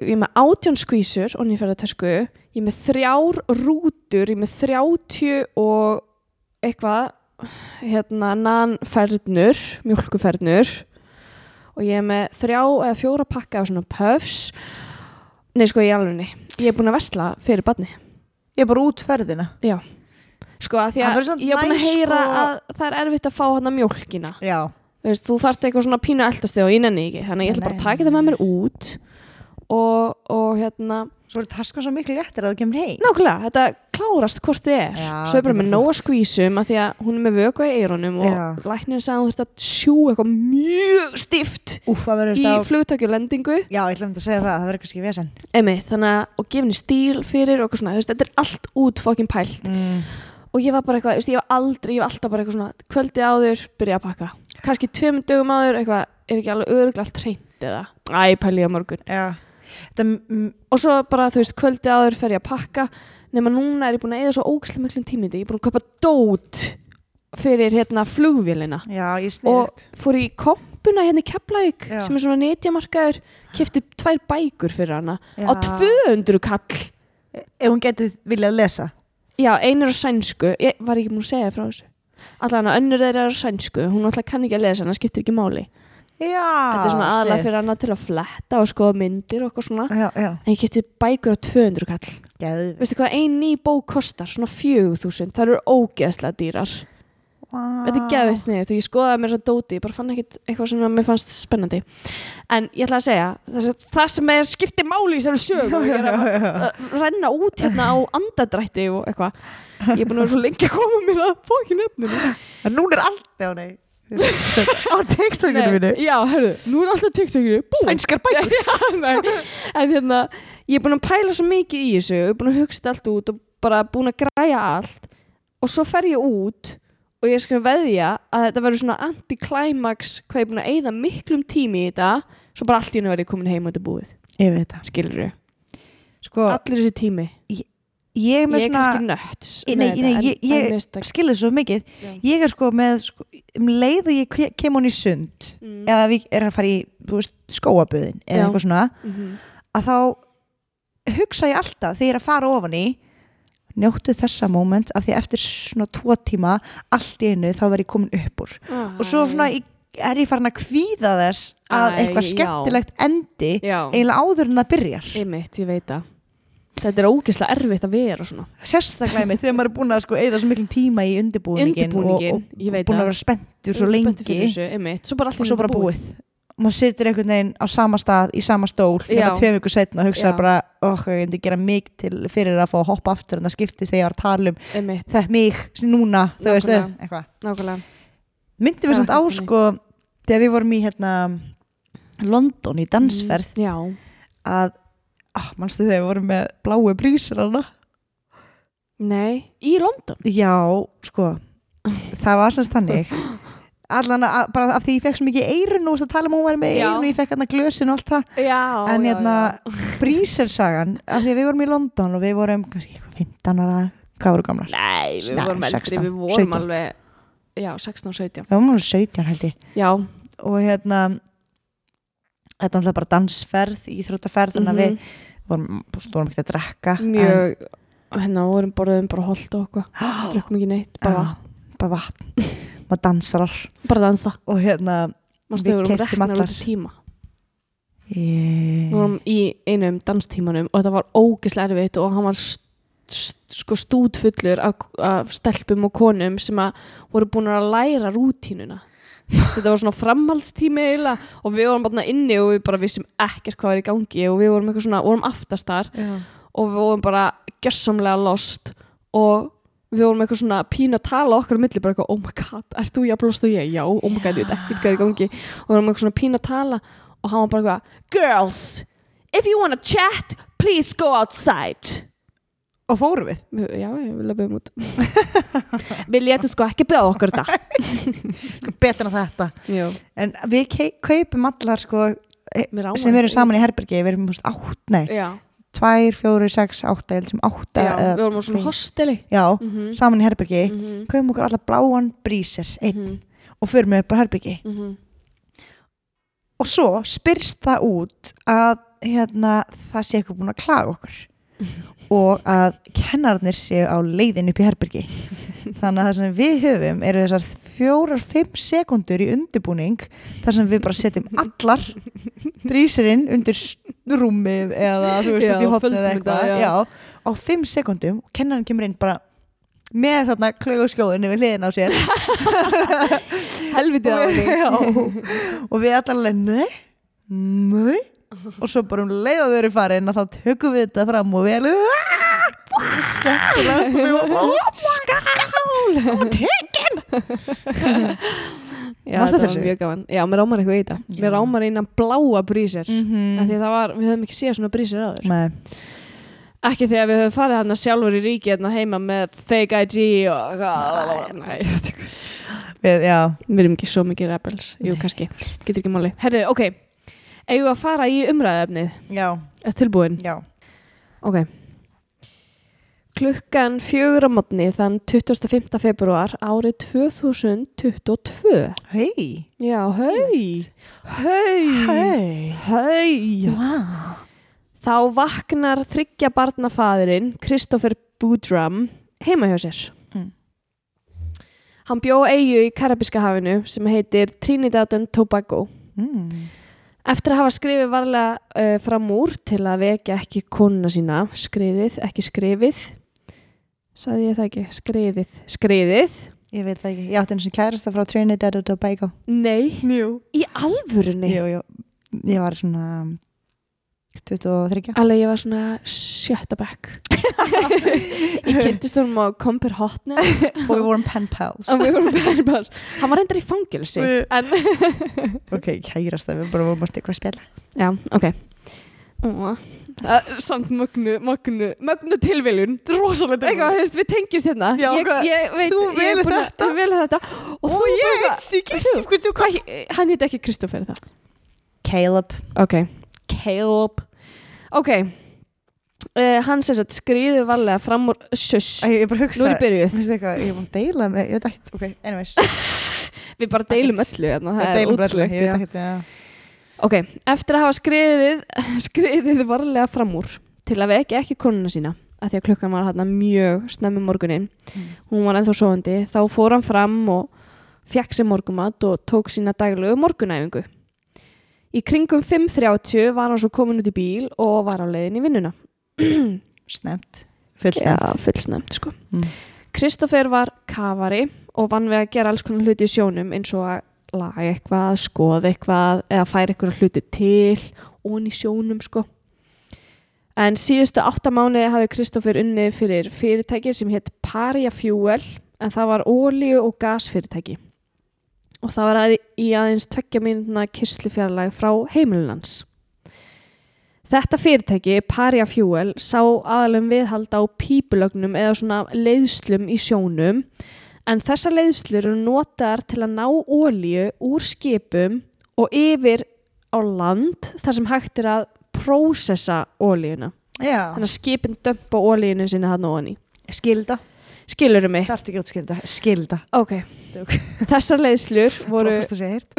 Ég er með átjón skvísur og nýferðartösku, ég er með þrjár rútur, ég er með þrjátjú og eitthvað, hérna, nanfernur, mjólkufernur og ég er með þrjá eða fjóra pakka af svona puffs. Nei, sko, ég alveg nei. Ég er búin að vesla fyrir badni. ég er bara út ferðina Sko, að því Það að verður samt ég er búin að næs, heyra sko- að það er erfitt að fá hana mjólkina. já, þú veist, þú þarft eitthvað svona pínu eldast þig og ég nenni því ekki, þannig að ég ætla bara að taka þetta með mér út og, og hérna svo er taskan svo miklu léttir að það kemur heim nákvæmlega, þetta klárast hvort þið er Já, svo er bara þetta er með nóga flott. skvísum af því að hún er með vöku í eyrunum og Já. læknir sagði að hún þurft að sjú eitthvað mjög stift úf, það verður í þá flugtökjulendingu já, ég ætlaði að segja það, það verður kannski vesen einmitt, þannig að og gefni stíl fyrir og eitthvað svona, þú veist, þetta er allt út fokkin pælt mm. og ég var bara eitthvað, þú veist, ég var aldrei, ég var alltaf bara eitthvað svona kvöldi áður, byrja að pakka kannski tveim dögum áður, eitthvað, er ekki alveg örugglega allt hreint eða, æ, pæli ég á morgun já, þetta mm, og svo bara, þú veist, kvöldi áður fer ég að pakka nema núna er ég búin að eða svo ógæslega miklum tími í þetta, ég er búin að köpa dót fyrir hérna flugvélina já, ég og sniðugt fór í kompuna hérna í Keflavík Já. sem er svona netjamarkaður kefti tvær bækur fyrir hana Já. á 200 kall ef hún getur viljað lesa já, einur á sænsku, ég var ekki múin að segja frá þessu allan að önnur þeirra er á sænsku hún alltaf kann ekki að lesa, hann skiptir ekki máli já, þetta er svona aðalega sniðugt. fyrir hana til að fletta og skoða myndir og eitthvað svona já, já, en ég kefti bækur á 200 kall geðvig veistu hvað, ein ný bók kostar svona 4000, það eru ógeðslega dýrar þetta er geðveitt sniðið, þú ég skoðaði mér svo dóti ég bara fann ekkit eitthvað sem að mér fannst spennandi en ég ætla að segja það sem, það sem er skiptið máli í þessari sögu [LAUGHS] ég er að að renna út hérna á andadrætti og eitthvað ég er búin að vera svo lengi að koma mér að fókin öfninu en núna er allt já, nei á TikTokinu mínu já, herðu, nú er alltaf TikTokinu búm, sænskar bækur Já, nei. en hérna, ég er búin að pæla svo mikið í þessu, ég er búin að hugsa þetta allt út og bara búin að græja allt og svo fer ég út og ég skal veðja að þetta verður svona anti-climax hvað ég er búin að eyða miklum tími í þetta svo bara allt í hennu verður ég komin heim og þetta er búið ég veit það skilur ég, sko, allir þessi tími ég er ég með er svona kannski nött Nei, nei, ég- ég- skilur svo mikið ég er sko með sko, um leið og ég ke- kem hún í sund mm, eða við erum að fara í þú veist, skóabuðin eða Já. eitthvað svona mhm. að þá hugsa ég alltaf þegar ég er að fara ofan í njóttu þessa moment af því að eftir svona tvo tíma allt í einu þá verð ég komin upp úr Ah. og svo svona ég, er ég farin að kvíða þess að Æ, eitthvað já. skemmtilegt endi Já. eiginlega áður en það byrjar einmitt, ég veit það þetta er ógeðslega erfitt að vera svona sérstaklega með þegar maður er búin að sko eða svo miklum tíma í undirbúningin, Undirbúningin, og, ég og veit búin það. að vera spenntur svo Spenntur lengi fyrir þessu, einmitt. svo bara allt í og svo einu bara búið, maður situr einhvern veginn á sama stað í sama stól hérna nema Já. tvei viku setna og hugsaði Já. bara oh, ég myndi gera mig til fyrir að fá að hoppa aftur en það skiptist þegar ég var að tala um einmitt, það er mig sem núna þú veist Nákvæmlega. eitthvað nákvæmlega myndi við Það samt á var ekki sko þegar við vorum í hérna London í dansferð Mm, já, að oh, mannstu þegar við vorum með bláu brísir hana nei, í London já sko það var semst þannig allan að, bara af því ég fekk svo mikið eirun og það tala um að hún væri með Já. eirun og ég fekk hérna glösin og allt það já, [LAUGHS] en hérna Brísersagan, af því að við vorum í London og við vorum kannski eitthvað 15 ára hvað voru gamlar? nei, við Nei, vorum eldri, 16, við vorum 17. alveg já, 16 og 17 Við vorum alveg 17 held ég já, og hérna þetta var náttúrulega bara dansferð íþróttaferð þannig að Mhm. við vorum, stórum ekki að drekka [GASPS] en, mjög hérna vorum borðum bara holt og eitthvað drekkum ekki neitt, bara, Já, bara vatn maður dansarar bara dansa og hérna Við Manstu, við vorum keyptum reknar allar. út í tíma ég... við vorum í einum danstímanum og þetta var ógeðslega erfitt og hann var st st sko stútfullur af, af stelpum og konum sem að voru búin að læra rútínuna þetta var svona framhaldstími eiginlega og við vorum bara þarna inni og við bara vissum ekkert hvað var í gangi og við vorum eitthvað svona, vorum aftastar og við vorum bara gessamlega lost og við vorum eitthvað svona pínu að tala okkar á milli bara eitthvað, oh my god, ert þú jafn lost og ég? Já, oh my god, ég veit ekkert hvað er í gangi og við vorum eitthvað svona pínu að tala og hann var bara eitthvað, girls if you wanna chat, please go outside og fórum við Við- Já, ég vil að út [LAUGHS] Við letum sko ekki bjóða okkur þetta betur en þetta Já. en við kei- kaupum allar sko Mér á sem hann- við erum saman í herbergi við erum múst átt, nei, Já, tvær, fjóri, sex, átta ég held sem átta já, eða- við vorum á svona hosteli já, mm -hmm. saman í herbergi Mm -hmm. kaupum okkur allar bláan brísir mhm, einn og förum við bara herbergi og svo spyrst það út að hérna, það sé eitthvað búin að klaga okkur og að kennararnir séu á leiðin upp í herbergi þannig að það sem við höfum eru þessar fjórar, fimm sekundur í undirbúning þar sem við bara setjum allar brísirinn undir s- rúmið eða þú veist, Já, út í hotnið eða földum eitthvað þetta, já. já, á fimm sekundum og kennarinn kemur inn bara með þarna klöguskjóðinu við hliðin á sér [LAUGHS] Helviti á og [LAUGHS] við, henni já, og við allar alveg nei, nei og svo bara um leið og þau eru farin að þá tökum við þetta fram og við alveg "Aah, aah, skemmtilegast og "Oh við vorum, "Ó, skál hún tekin Já, Manstu eftir þetta var þessu? mjög gaman Já, mér rámar eitthvað í þetta Mér rámar einan bláa brísir mm Mhm. Því að það var, við höfum ekki séð svona brísir áður Nei. Ekki þegar við höfum farið hérna sjálfur í ríki hérna heima með fake ID og eitthvað Nei, þetta er- við, já, við erum ekki svo mikið rebels Jú, Nei. kannski, getur ekki máli Herðu, ok, eigum við að fara í umræðefnið já, Ertu tilbúin? já Ok Klukkan fjögur á mótni þann 25. februar árið 2022 hei, Já, hei Hei hei Hei wow. Þá vaknar þryggja barnafaðurinn Kristoffer Budram heima hjá sér. Mm. Hann bjó á eigu í Karabíska hafinu sem heitir Trinidad and Tobago. mm. Eftir að hafa skrifið varlega uh, fram úr til að vekja ekki konuna sína, skriðið, ekki skrifið, sagði ég það ekki, skriðið, skriðið, ég veit það ekki, ég átti einu sinni kærasta frá Trinidad og Tobago nei, jú, í alvörunni. jú, jú ég var svona um, 23 Alveg ég var svona sjötta bekk. ég kynntist honum á Compare Hotness. [LAUGHS] og við vorum pen pals og við vorum bæri báðs hann var reyndar í fangilsi Við- en, [LAUGHS] ok, kærast það, við bara vorum alltaf eitthvað að spila já, ok Ó, það er samt mögnu mögnu, mögnu tilviljun rosalega eitthvað, þú veist, við tengjumst hérna Já, ég, hvað- ég veit, þú ég er velur búin þetta? að velja þetta og þú bara eitthvað- sikist hvað þú hvað, hé- hann hétt ekki Kristoffer er það Caleb ok, Caleb ok uh, hann sem sagt skriðu varlega fram úr shush, Æ, ég bara hugsa nú er ég byrjuð Vistu eitthvað, ég er búin að deila með, ég veit ekkert, ok, anyways við bara deilum öllu hérna, Ég það er deila með öllu, útlögt ég veit ekkert, já Ok, eftir að hafa skriðið, [LAUGHS] skriðið varlega fram úr til að vekja ekki konuna sína af því að klukkan var hérna mjög snemmi morgunin Mm. hún var ennþá sofandi þá fór hann fram og fekk sér morgumat og tók sína daglegu morgunæfingu Í kringum 5.30 var hann svo komin út í bíl og var á leiðin í vinnuna Snemt, full Já, snemt fullsnemt sko. Mm. Kristoffer var kafari og vann við að gera alls konar hluti í sjónum eins og að laga eitthvað, skoða eitthvað eða færa eitthvað hluti til ón í sjónum sko. En síðustu átta mánuði hafði Kristoffer unnið fyrir fyrirtæki sem hétt Paria Fuel en það var ólíu og gasfyrirtæki. Og það var að í aðeins tvekja mínutna kyslufjarlæg frá heimilunans. Þetta fyrirtæki, Paria Fuel, sá aðalum viðhald á pípulögnum eða svona leiðslum í sjónum en þessar leiðslur eru notaðar til að ná ólíu úr skipum og yfir á land þar sem hægt er að prósessa ólíuna. Já, Þannig að skipin dömpa ólíuna sinni hann og hann í. skilda, Skilurum mig? þarfti ekki að skilda, skilda Ok. Þessar leiðslur voru... Fólkast að segja heyrt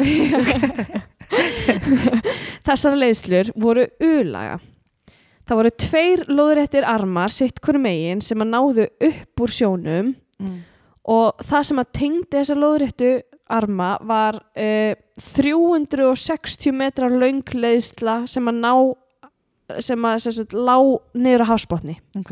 Þessar leiðslur voru ulaga. Það voru tveir lóðréttir armar sitt hverju megin sem að náðu upp úr sjónum Mm. og það sem að tengdi þessa lóðréttu arma var uh, 360 metrar löng leiðsla sem að ná sem að sem sagt, lá niður á hafsbotni. Ok.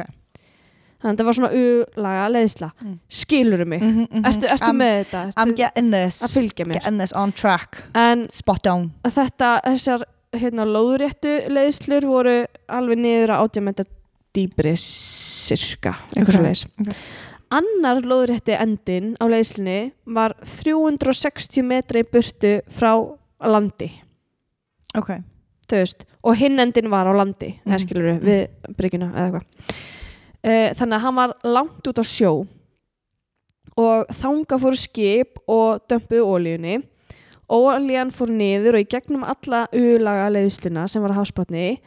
Þannig að það var svona ulaga leiðsla. Mm. Skilurðu mig? Mm -hmm. Ertu, ertu I'm, með þetta? I'm Ertu getting this. að fylgja mér? Getting this on track. En Spot on. að þetta, þessar hérna lóðréttu leiðslur voru alveg niður að átjámynda dýbri sirka Ok, okay. ok. annar lóðrétti endin á leiðslunni var 360 metra í burtu frá landi Ok. þú veist, og hinn endin var á landi eða Mm. skilur við, við bryggjuna eða eitthvað Eh, þannig að hann var langt út á sjó og þanga fóru skip og dömpuðu ólíunni ólían fór niður og í gegnum alla ulaga leiðsluna sem var að hafspotni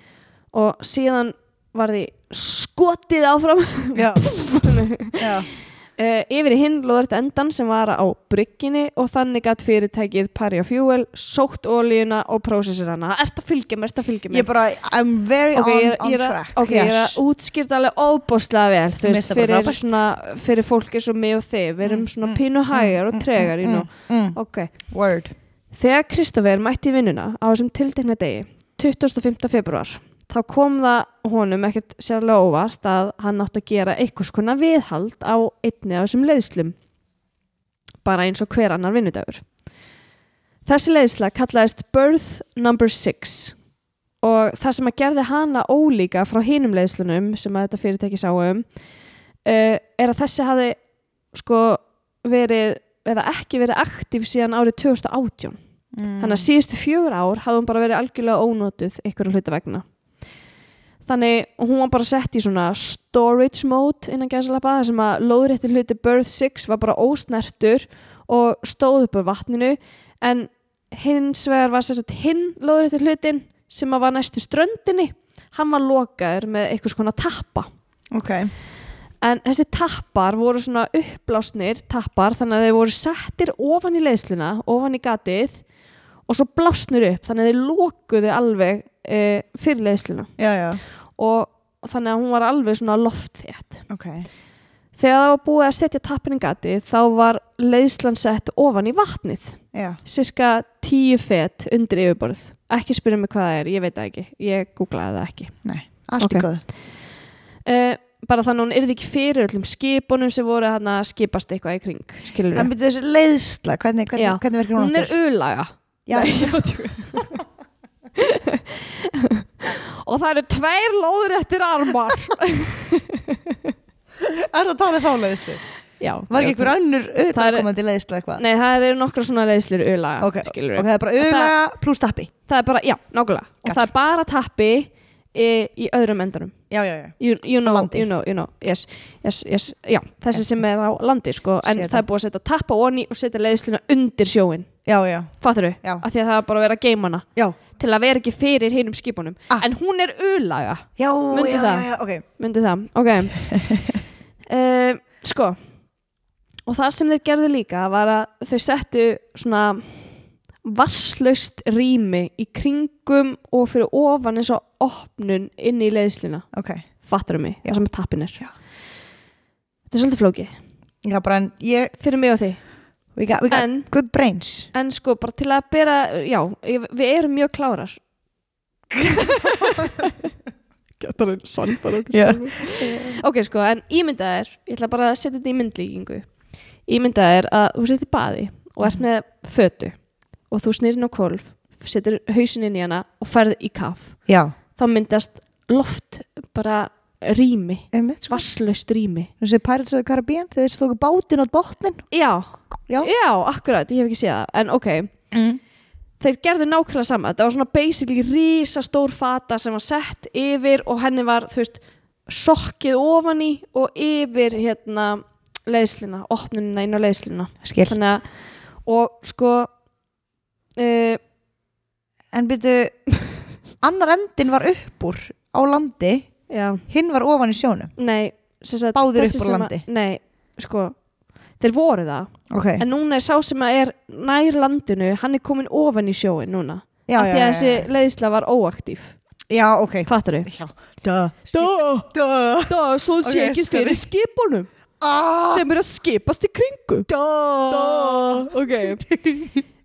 og síðan var því skotið áfram [LAUGHS] Já. Já. Eh, yfir í hinn lóðrætt endan sem var á brygginni og þannig að fyrirtækið Paria Fuel sótt ólíuna og prósessir hana. Ert að fylgja mér, ert að fylgja mér. Ég bara, I'm very Ok, ég on, er- on ég er að- track. ok, ég er að útskýrt alveg óbúslega vel þú Mér veist, finnst það bara fyrir, frábært. svona, fyrir fólki eins og mig og þig við erum Mm, svona mm, pínu hægar mm, og tregar mm, mm, mm. ok, Word. þegar Kristoffer mætti í vinnuna á þessum tiltekna degi 25. februar þá kom það honum ekkert sérlega óvart að hann átti að gera einhvers konar viðhald á einni af þessum leiðslum bara eins og hver annar vinnudagur þessi leiðsla kallaðist Birth Number 6 og það sem að gerði hana ólíka frá hinum leiðslunum sem að þetta fyrirtæki sáum uh, er að þessi hafi sko verið eða ekki verið aktíf síðan árið 2018 Mm. þannig að síðustu fjögur ár hafði hún bara verið algjörlega ónótuð einhverju hluta vegna þannig hún var bara sett í svona storage mode innan gæðsalapa þar sem að lóðrétti hluti Birth 6 var bara ósnertur og stóð upp á vatninu en hins vegar var sérst hinn lóðrétti hlutin sem að var næstu ströndinni hann var lokaður með einhvers konar tappa Ok. En þessi tappar voru svona uppblásnir tappar þannig að þeir voru settir ofan í leiðsluna, ofan í gatið og svo blásnir upp þannig að þeir lokuðu alveg e, fyrir leiðsluna Já, já. og þannig að hún var alveg svona loftþétt. Ok. Þegar það var búið að setja tappin í gatið þá var leiðslan sett ofan í vatnið, Já. cirka tíu fet undir yfirborð. Ekki spyrja mig hvað það er, ég veit það ekki, ég googlaði það ekki. Nei. Allt Ok. í góðu. Uh, bara þannig að hún yrði ekki fyrir öllum skipunum sem voru hann að skipast eitthvað í kring skilur En byrju þessi leiðsla, hvernig, Já. hvernig, hvernig verkar hún hún er áttur? ulaga Já. Nei, ég var að djóka. og það eru tveir lóðréttir armar Er það að tala um þá leiðslu? já, Var ekki einhver önnur Það er- auðvitaðkomandi leiðsla eitthvað? Nei, það eru nokkra svona leiðslir ulaga Ok, ok, skilurðu. það er bara auðvitaða pluss tappi. það er bara, já, nákvæmlega og Gotcha. það er bara tappi í, í öðrum endanum Já, já, já. you, you, know, landi. you know, you know, yes, yes, yes já, þessi sem er á landi sko, en Sé það er búið að setja tappa onni og setja leiðsluna undir sjóin Já, já, fattur þau, Já. af því að það er bara að vera að geima hana já. til að vera ekki fyrir hinum skipunum Ah. en hún er ulaga Já, Mundu já, já, það. já, ok. myndi það, ok [LAUGHS] uh, sko og það sem þeir gerðu líka var að þau settu svona vasslaust rými í kringum og fyrir ofan eins og opnun inn í leiðslina Ok. fattarum mig, Já. það sem er tappin er Já. þetta er svolítið flóki Já, bara en ég, fyrir mig og þig, we got, we got en, good brains. en sko bara til að bera, já, ég- við erum mjög klárar getur einn sannfæra Já. ok sko, en ímyndað er ég ætla bara að setja þetta í myndlíkingu ímyndað er að þú setur baði og ert með fötu og þú snýrinn á kolf, setur hausinn inn í hana og ferð í kaf Já. þá myndast loft bara rými, Einmitt, sko. vasslaust rými Þessi Pirates of the Caribbean, þegar þessi tóku bátinn á botnin. já, Já. akkurat, ég hef ekki séð það en ok, Mm. þeir gerðu nákvæmlega sama þetta var svona basically risastór fata sem var sett yfir og henni var þú veist, sokkið ofan í og yfir hérna leiðslina, opnunina inn á leiðslina Skil. þannig að, og sko uh, En byrju, annar endin var upp úr á landi, já, hinn var ofan í sjónum. nei sem sagt, Báðir þessi upp úr sem að- landi. Eh. nei, sko, þeir voru það Ok. en núna er sá sem að er nær landinu hann er komin ofan í sjóin núna já, af já, því að já, þessi já. leiðisla var óaktív já, ok fattar þau? já, da, da, da Það svo Ok, sé ekki sorry. fyrir skipunum ah, sem er að skipast í kringu da, da ok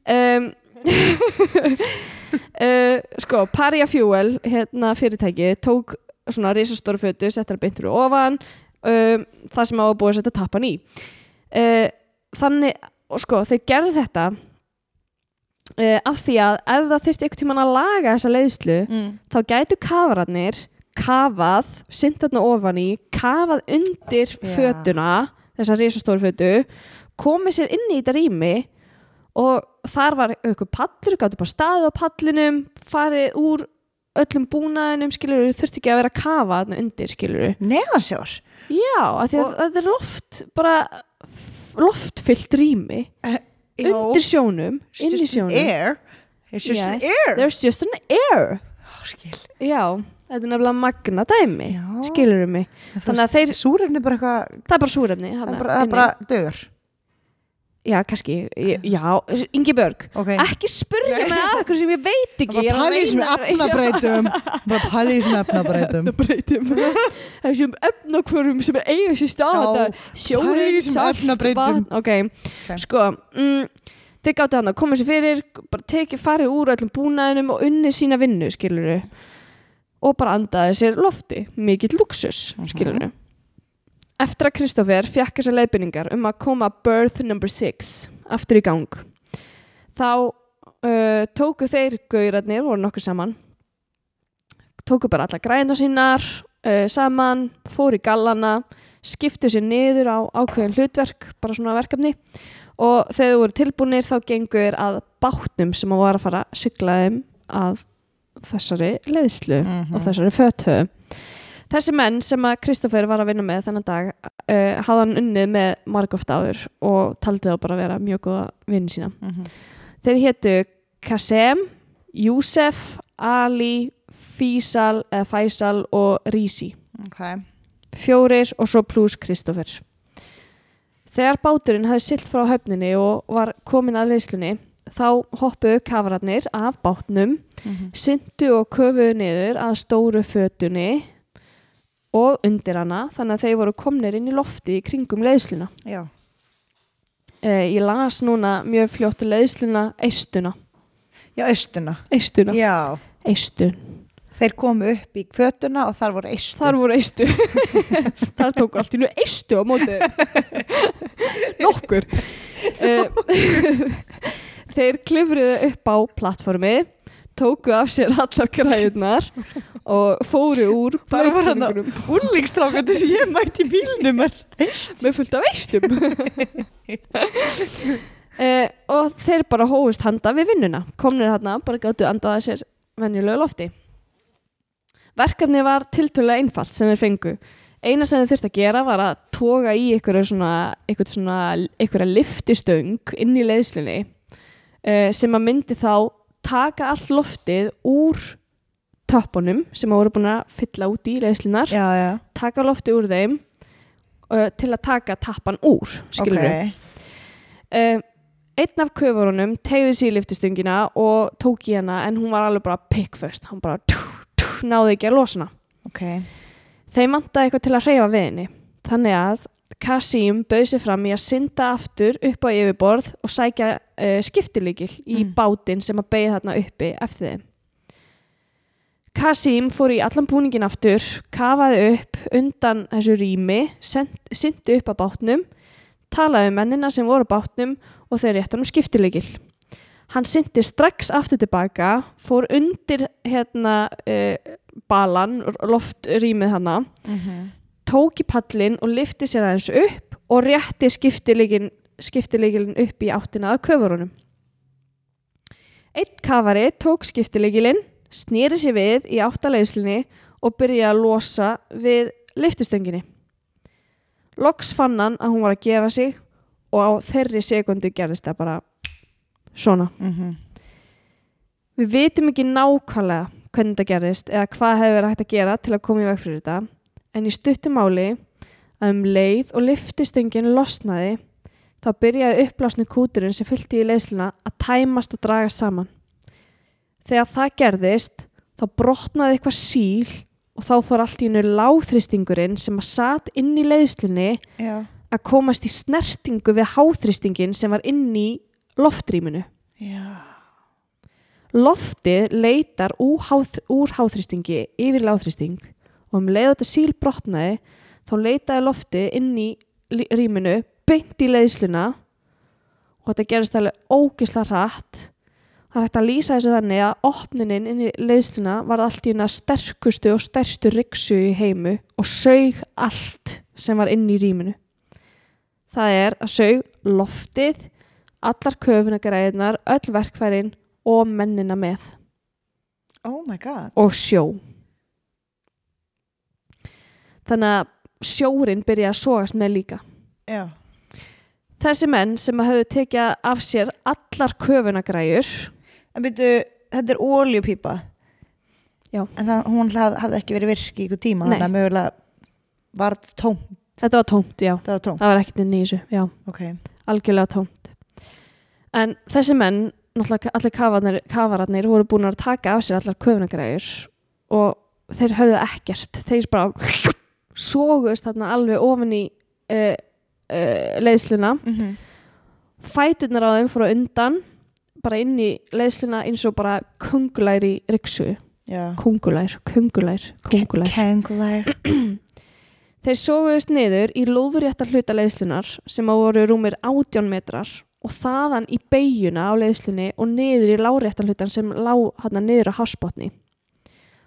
um, [LAUGHS] uh, sko, Paria Fuel hérna fyrirtæki, tók svona risastóru fötu, sett hann beintur og ofan um, það sem á að búa að setja tappan í uh, þannig, og sko, þau gerðu þetta uh, af því að ef það þyrfti einhvern tímann að laga þessa leiðslu mm. þá gætu kafararnir kafað, synt þarna ofan í kafað undir Já. fötuna þessa risastóru fötu komið sér inn í þetta rými og þar var aukur pallur gáttu bara staðið á pallinum farið úr öllum búnaðinum skilur, þurfti ekki að vera að kafa þarna undir skilur, neðansjór já, af því að Og- þetta er loft bara f- loftfyllt rými undir sjónum, inn í sjónum air it's just Yes, an air there's just an air Ó, skil Já, þetta er nefnilega magna dæmi Já. skilurðu mig, Þannig að þeir- súrefni bara eitthvað það er bara súrefni það hana, er bara, það er bara dögur Já, kannski, ég- já, Ingi Björg ok ekki spurja mig að okkur sem ég veit ekki bara ég er að pæli í þessum reyna- [LAUGHS] efnabreitum bara pæli í þessum efnabreitum efnabreitum þessum efnakvörum sem eiga sér Já, stað þetta pælir í sjórið, þessum salt, efnabreytum. vatn ok, sko mm, þeir gáttu hann að koma sér fyrir bara tekið farið úr öllum búnaðinum og unni sína vinnu, skilur og bara andaði sér lofti mikill luxus, skilur eftir að Kristoffer fjekk þessar leiðbynningar um að koma birth number 6 aftur í gang þá uh, tóku þeir gaurarnir, voru nokkuð saman tóku bara alla græna sínar uh, saman, fór í gallana skiptu sér niður á ákveðin hlutverk, bara svona verkefni og þegar þú voru tilbúinir þá gengur þeir að bátnum sem að var að fara að sigla þeim að þessari leiðslu Mhm. og þessari fötu þessi menn sem að Kristoffer var að vinna með þennan dag uh, hafði hann unnið með margóft áður og taldi þá bara að vera mjög góða vinn sína Mhm. Þeir héttu Kasem, Júsef, Ali, Físal eða Fæsal og Rísi. ok Fjórir og svo pluss Kristoffer. Þegar báturinn hafði silt frá höfninni og var komin að leyslunni, þá hoppuðu kafararnir af bátnum, Mhm. syndu og köfuðu niður að stóru fötunni og undir hana, þannig að þeir voru komnir inn í lofti í kringum leysluna. já Eh, ég las núna mjög fljótt leysluna eistuna. já austuna Eistuna. já Eistun. þeir komu upp í kvötuna og þar voru eistu Þar voru eistu [LAUGHS] Þar tóku allt í nú eistu á [LAUGHS] móti Nokkur Eh, [LAUGHS] Þeir klifruðu upp á plattformi Tóku af sér [LAUGHS] allar græðunar Og fóru úr Bara var hann að- blautbúningunum úrlingstrákandi sem ég mætti í bílnum er eistu Með fullt af eistum [LAUGHS] Eh, Og þeir bara hófust handa við vinnuna Komnir hann bara gáttu andaða sér venjulegu lofti Verkefni var tiltölulega einfalt sem þeir fengu. Eina sem þeir þurfti að gera var að toga í einhverja svona, einhverja svona, einhverja liftistöng inn í leiðslunni uh, sem að myndi þá taka allt loftið úr töppunum sem að voru búin að fylla út í leiðslunar, já já taka loftið úr þeim uh, til að taka tappan úr, skilur við. Ok. Uh, einn af köfurunum tegði sér í liftistöngina og tók í hana en hún var alveg bara pickfust hann bara tú, tú, náði ekki að losa hana ok þeim vantaði eitthvað til að hreyfa við henni þannig að Kasim bauð sér fram í að synda aftur upp á yfirborð og sækja uh, skiptilíkil í Mm. bátinn sem að beigja þarna uppi eftir þeim Kasim fór í allan búningin aftur, kafaði upp undan þessu rými, syndi upp að bátnum, talaði um mennina sem voru á bátnum og þeir réttan um skiptilegil. Hann syndi strax aftur tilbaka, fór undir hérna uh, balan, loftrýmið hana, Mhm. tók í pallin og lifti sér aðeins upp og rétti skiptilegilin, skiptilegilin upp í áttina að köfurunum. Einn kafari tók skiptilegilin, snýri sér við í áttaleiðslinni og byrjaði að losa við liftustönginni. Loks fann hann að hún var að gefa sig og á þeirri sekundi gerðist það bara svona. Mhm. Við vitum ekki nákvæmlega hvernig þetta gerðist eða hvað hefur verið hægt að gera til að koma í veg fyrir þetta en í stuttum máli að um leið og liftistöngin losnaði þá byrjaði upplásnu kúturinn sem fylgdi í leiðsluna að tæmast og draga saman. Þegar það gerðist, þá brotnaði eitthvað síl og þá fór allt í hennu láþristingurinn sem að sat inn í leiðslunni já, að komast í snertingu við háþristingin sem var inn í loftrýminu. já Loftið leitar úr, háþ, úr háþristingi yfir í láþristing og um leið og þetta síl brotnaði þá leitaði loftið inn í lí- rýminu beint í leiðsluna og þetta gerist alveg ógisla hratt það er hægt að lýsa þessu þannig að opninin inn í leiðsluna var allt í hérna sterkustu og stærstu ryksu í heimu og sög allt sem var inn í rýminu það er að sög loftið allar köfunagræðinar, öll verkfærin og mennina með oh my god og sjó þannig að sjórin byrja að sogast með líka já, þessi menn sem að höfðu tekið af sér allar köfunagræjur en byrju, þetta er óljupípa Já. en það, hún hafði, hafði ekki verið virk í ykkur tíma Nei. þannig að mögulega var þetta tóm þetta var tómt, já, það var tóm, það var ekkert inn í þessu já, ok algjörlega tómt en þessi menn náttúrulega allir kafarnir, kafararnir voru búin að taka af sér allar köfunagræjur og þeir höfðu ekkert þeir bara sogust þarna alveg ofan í uh, uh, leiðsluna mm -hmm. fæturnar á þeim fóru á undan bara inn í leiðsluna eins og bara kungulær í riksu já, kungulær, kungulær, kungulær kengulær þeir sóguðust niður í lóðurétta hluta leiðslunar sem að voru rúmir 18 metrar og þaðan í beiguna á leiðslunni og niður í lárétta hlutan sem lá hann niður á hásbotni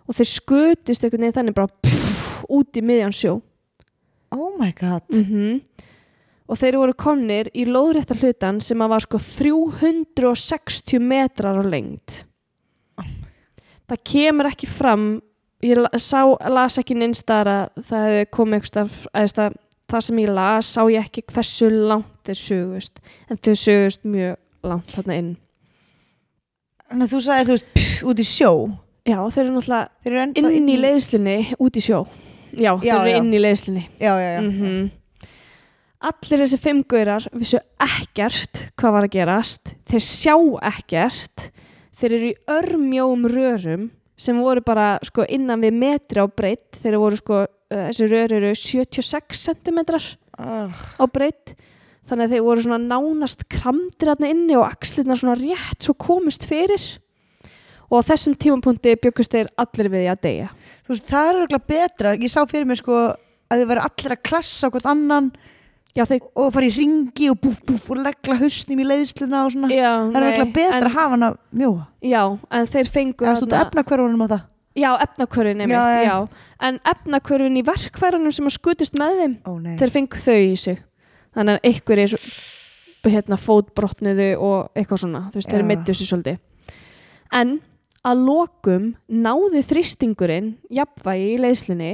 og þeir skutust einhvern veginn þannig bara pff, út í miðjan sjó oh my god -hmm. og þeir voru komnir í lóðrétta hlutan sem að var sko 360 metrar á lengd Oh það kemur ekki fram ég la- sá, las ekki neinstar að það hefði komið eitthvað það sem ég las sá ég ekki hversu langt þeir sögust en þau sögust mjög langt þarna inn Þannig að þú sagði þú veist pff, út í sjó já þeir eru náttúrulega Þeir eru ennþá inn í leiðslunni út í sjó já, þeir Já, eru já. inn í leiðslunni Já, já, já -hmm. Allir þessi fimm gaurar vissu ekkert hvað var að gerast, þeir sjá ekkert, þeir eru í örmjóum rörum sem voru bara sko innan við metri á breytt, þeir voru sko, eh, þessi rör eru 76 cm á oh, breytt, þannig að þeir voru svona nánast kramdir aðna inni og axlirna svona rétt svo komust fyrir og á þessum tímapunkti byggust þeir allir við í að deyja. Þú veist, það er örugglega betra Ég sá fyrir mér sko að þið væri allir að klassa hvort annan Já, þeir, og fara í ringi og búf búf og leggla hausnum í leiðsluna og svona já, Það er örugglega betra að hafa hana mjóa Já, en þeir fengu Það er stúta þarna- efna hverfunum á það Já, efnakörfin einmitt, Já, já, já. En efnakörfin í verkfærunum sem að skutist með þeim, Ó nei þeir fengu þau í sig. Þannig að ykkur er hérna, fótbrotniðu og eitthvað svona, þú veist, Já. þeir meittu sér svolítið. En að lokum náði þrýstingurinn jafnvægi í leiðslunni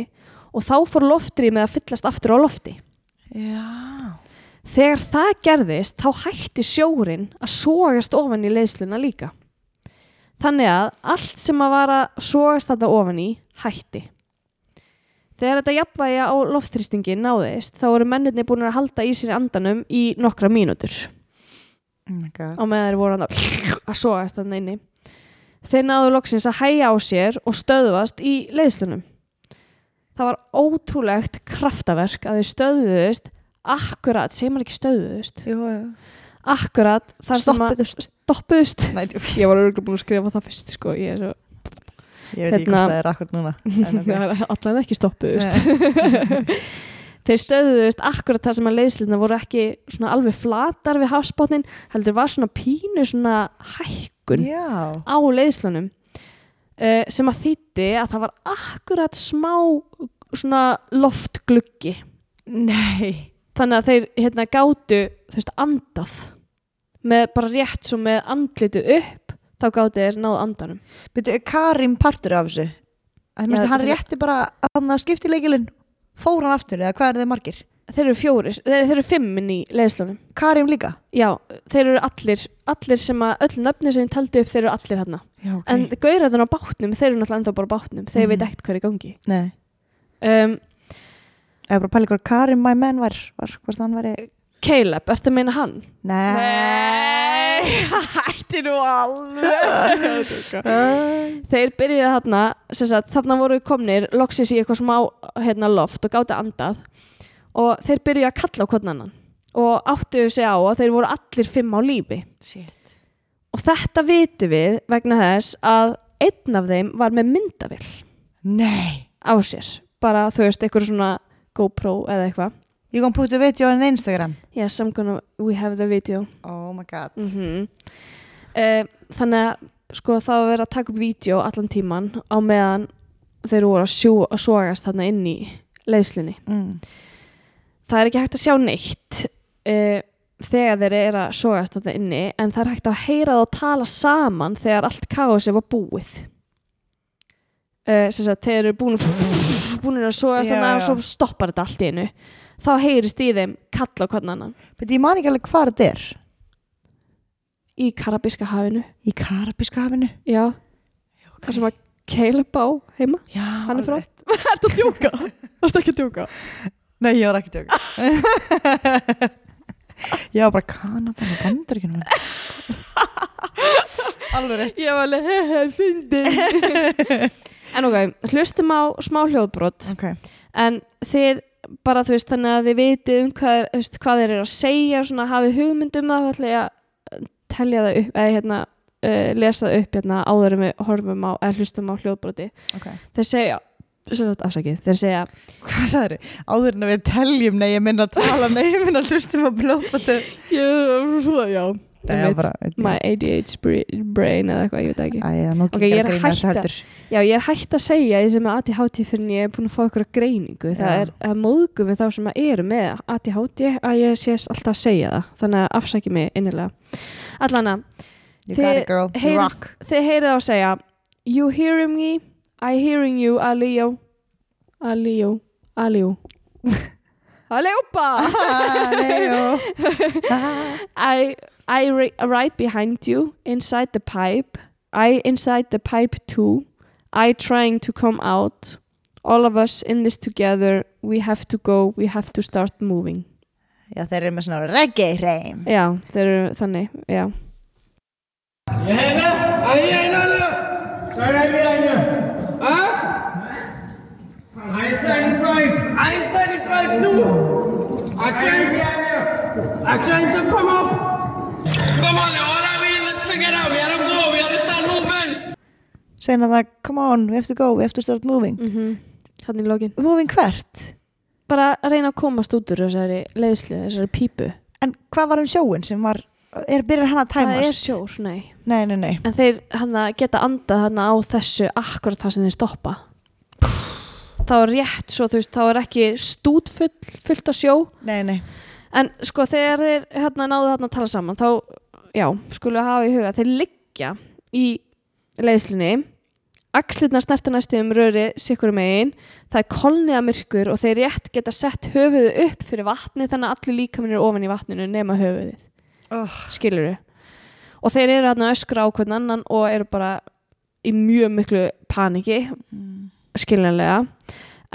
og þá fór loftrýmið að fyllast aftur á lofti. Já Þegar það gerðist þá hætti sjórin að sógast ofan í leiðsluna líka. Þannig að allt sem að var að sógast þetta ofan í hætti. Þegar þetta jafnvægi á loftþrýstingin náðist þá voru mennirni búin að halda í sér andanum í nokkra mínútur Oh my god á meðan þeir voru hann að, að sógast þannig inni. Þeir náðu loksins að hæja á sér og stöðvast í leiðslunum. Það var ótrúlegt kraftaverk að þeir stöðuðust akkurat, segir maður ekki stöðuðust Jú, jú akkurat þar Stoppuðust. sem að stoppuðust Nei, djú- ég var örgulega búin að skrifa það fyrst sko ég er svo, ég veit ekki Hérna. hvort það er akkur núna [LAUGHS] en ok. það er allan ekki stoppuðust Nei. þeir stöðuðust akkurat þar sem að leiðslutna voru ekki svona alveg flatar við hafsbotnin heldur var svona pínu svona hækkun Já á leiðslunum uh, sem að þýtti að það var akkurat smá svona loftgluggi Nei þannig að þeir hérna gátu þú veist andað með bara rétt svo með andlitið upp þá gátu þeir náðu andanum Byrju, er Karim partur af þessu? Það minnst Já, að hann þetta- rétti bara hann að skipti leikilinn, fór hann aftur eða hvað er þið margir? þeir eru fjórir, þeir, þeir eru fimmin í leiðslunum Karim líka? já, þeir eru allir allir sem að, öll nöfnir sem ég taldi upp þeir eru allir hérna, Já, ok. en gaurarðin á bátnum þeir eru náttúrulega ennþá bara á bátnum, þeir Mhm. veit ekkert hvað er í gangi Nei, um, ég er bara að pæla ykkur Karim my man var, var hvort hann væri Eh. Caleb, ertu að meina hann? Nei, hætti nú [LAUGHS] alveg þeir byrjuðu þarna sem sagt, þarna voru komnir loksins í eitthvað smá hérna, loft og gáti andað og þeir byrjuðu að kalla á hvern annan og áttuðu sig á að þeir voru allir fimm á lífi og þetta vitum við vegna þess að einn af þeim var með myndavill Nei á sér bara þú veist, eitthvað svona GoPro eða eitthvað You gonna put a video on Instagram yes, I'm gonna, we have the video Oh my god mm Eh, þannig að sko það var verið að taka upp vídeo allan tíman á meðan þeir voru að, sjú, að sogast þarna inn í leiðslunni mm. það er ekki hægt að sjá neitt uh, þegar þeir eru að sogast þarna inni en það er hægt að heyra það og tala saman þegar allt kási var búið uh, sem sagt þeir eru [LAUGHS] búin búin að sogast Já, þarna og já. svo stoppar þetta allt í einu þá heyrist í þeim kalla á hvern annan But ég man ekki alveg hvað þetta er í karabíska hafinu Í Karabíska hafinu já, það sem að Caleb á heima Já, hann er frá Ertu að djóka? Varstu ekki að djóka? Nei, ég var ekki tjóka [LAUGHS] Ég var bara Kanada og [LAUGHS] Bandaríkjunum Alveg rétt Ég var alveg, hehe, fyndið En ok, hlustum á smá hljóðbrot [LAUGHS] Ok en þið bara þú veist þannig að þið vitið um hvað, þú veist, hvað þeir eru að segja svona hafið hugmyndum það þá ætla ég að eh, telja það upp eða hérna uh, lesa það upp hérna áður en við horfum á eða hlustum á hljóðbroti Ok þeir segja, sem sagt, afsakið, þeir segja Hvað sagður þið? Áður en að við teljum, nei, ég minna að tala, nei, ég minna að hlustum að blópa þetta. já, já, er einmitt. bara, my ADHD bra- brain eða eitthvað, ég veit það Æ, ekki ég er nokkuð Ok, ég er að grínast hætt að- heldur. Já, ég er hægt að segja því sem er ADHD fyrir en ég er búin að fá ykkur greiningu. Það Já. er að móðgu við þá sem eru með ADHD að ég sé alltaf að segja það. Þannig að afsækja mig innilega. Allana, You got Þið it, girl, you heyrið- rock. þið heyrið á að segja You hearing me, I hearing you, Alió, Alió, Alió. Aljópa! [LAUGHS] [LAUGHS] I, I ri- right behind you, inside the pipe. I inside the pipe too. I trying to come out. All of us in this together. We have to go. We have to start moving. Já, þeir eru með svona reggae reym. Já, þeir eru þannig, já. Ég er hérna, að ég er hérna alveg. Hvað er ég hérna? Hæ? Einstein five. Einstein five two. I can't, I can't to come up. Come on, all I mean, let's pick it up. We gotta go, we gotta start moving. Segna það, come on, we have to go, we have to start moving. Þannig lókin. Moving hvert? Bara að reyna að komast út úr þessari leiðslu, þessari pípu. En hvað var um sjóin sem var, er byrjar hann að tæmast? Það er sjór, nei. Nei, nei, nei. En þeir hana, geta andað hana á þessu akkurat þar sem þeir stoppa. Þá er rétt svo, þú veist, þá er ekki stút full, fullt að sjó. Nei, nei. En sko þegar þeir hérna, náðu þarna að tala saman þá, já, skulum við hafa í huga þeir liggja í leiðslunni axlirna snerta næstu um röri sikkur megin, það er kolniða myrkur og þeir rétt geta sett höfuðu upp fyrir vatni þannig að allir líkaminir er ofan í vatninu nema höfuðið, Oh. skilur við og þeir eru þarna að öskra á hvern annan og eru bara í mjög miklu paniki Mhm, skiljanlega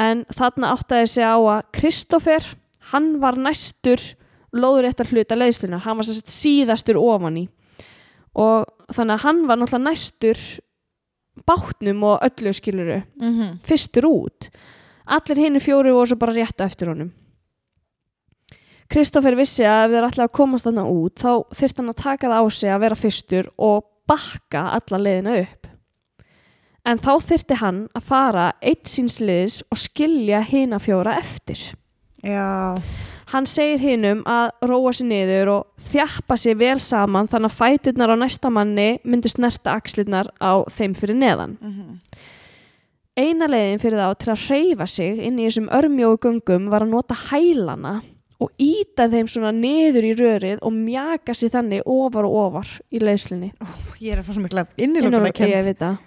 en þarna áttaði sig á að Kristoffer, hann var næstur lóðréttar hluta leiðslunar hann var sem sagt síðastur ofan í og þannig að hann var náttúrulega næstur bátnum og öllu skiluru Mm -hmm. fyrstur út allir hinn fjóri voru svo bara rétt á eftir honum Kristoffer vissi að ef þeir ætlaði að komast þarna út þá þyrfti hann að taka það á sig að vera fyrstur og bakka alla leiðina upp en þá þyrfti hann að fara eitt síns liðs og skilja hina fjóra eftir Já. Hann segir hinum að róa sér niður og þjappa sér vel saman þannig að fæturnar á næsta manni myndu snerta axlirnar á þeim fyrir neðan. mhm. Eina leiðin fyrir þá til að hreyfa sig inn í þessum örmjóu göngum var að nota hælana og íta þeim svona niður í rörið og mjaka sér þannig ofar og ofar í leiðslinni. Ég er að fá svo mikla Innur- innilokuna Ég kent. veit það.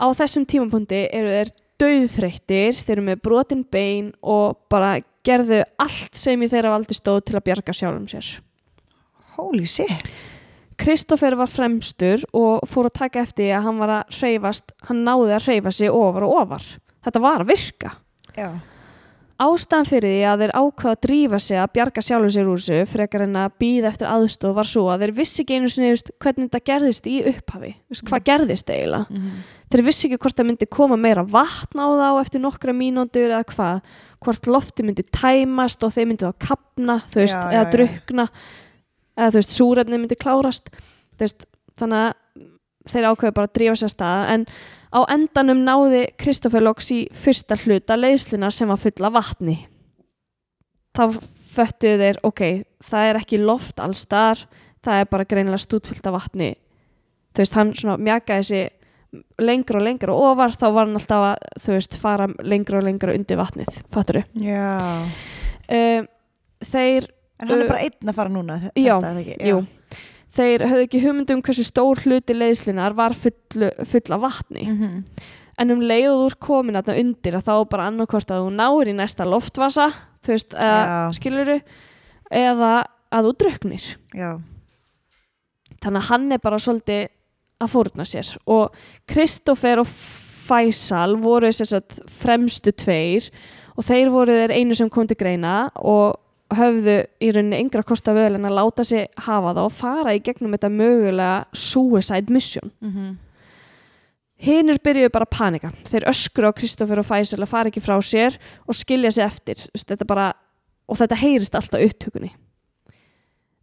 Á þessum tímapunkti eru þeir dauðþreyttir, þeir eru með brotin bein og bara gerðu allt sem í þeirra valdi stóð til að bjarga sjálfum sér. Holy shit. Kristoffer var fremstur og fór að taka eftir því að hann var að hreyfast, hann náði að hreyfa sig ofar og ofar. Þetta var að virka. Já. Ástæðan fyrir því að þeir ákvaða að drífa sig að bjarga sjálfur sér úr þessu frekar en að býða eftir aðstof var svo að þeir vissi ekki einu sinni þú veist, hvernig þetta gerðist í upphafi, Þú veist, hvað gerðist eiginlega. Mhm. Þeir vissi ekki hvort það myndi koma meira vatn á þá eftir nokkra mínútur eða hvað, hvort lofti myndi tæmast og þeir myndi þá kapna, þú veist, Já, eða já, já. drukna, eða þú veist, súrefni myndi klárast, þú veist, þannig að þeir ákveðu bara að drífa sér af stað en á endanum náði Kristoffer Loks í fyrsta hluta leiðsluna sem var full af vatni þá föttuðu þeir ok, það er ekki loft alls þar, það er bara greinilega stútfullt af vatni þú veist, hann svona mjakaði sig lengra og lengra og ofar, þá var hann alltaf að þú veist, fara lengra og lengra undir vatnið fattur þau Já. þeir En hann Uh, er bara einn að fara núna þe- já, þetta, er það ekki? Jú. Þeir höfðu ekki hugmynd um hversu stór hluti leiðslinar var full, full af vatni. Mhm. En um leiður komin að það undir að þá er bara annarkvort að þú náir í næsta loftvasa, þú veist, Já. eða, skiluru, eða að þú druknir. Já. Þannig að hann er bara svolítið að fórna sér. Og Kristoffer og Faisal voru þess að fremstu tveir og þeir voru þeir einu sem kom til greina og höfðu í rauninni yngra kosta völ en að láta sig hafa það og fara í gegnum þetta mögulega suicide mission. Mhm. Hinnur byrjuðu bara að panika. Þeir öskru á Kristoffer og Faisal að fara ekki frá sér og skilja sig eftir. Þú veist, Þetta bara, og þetta heyrist alltaf upptökunni.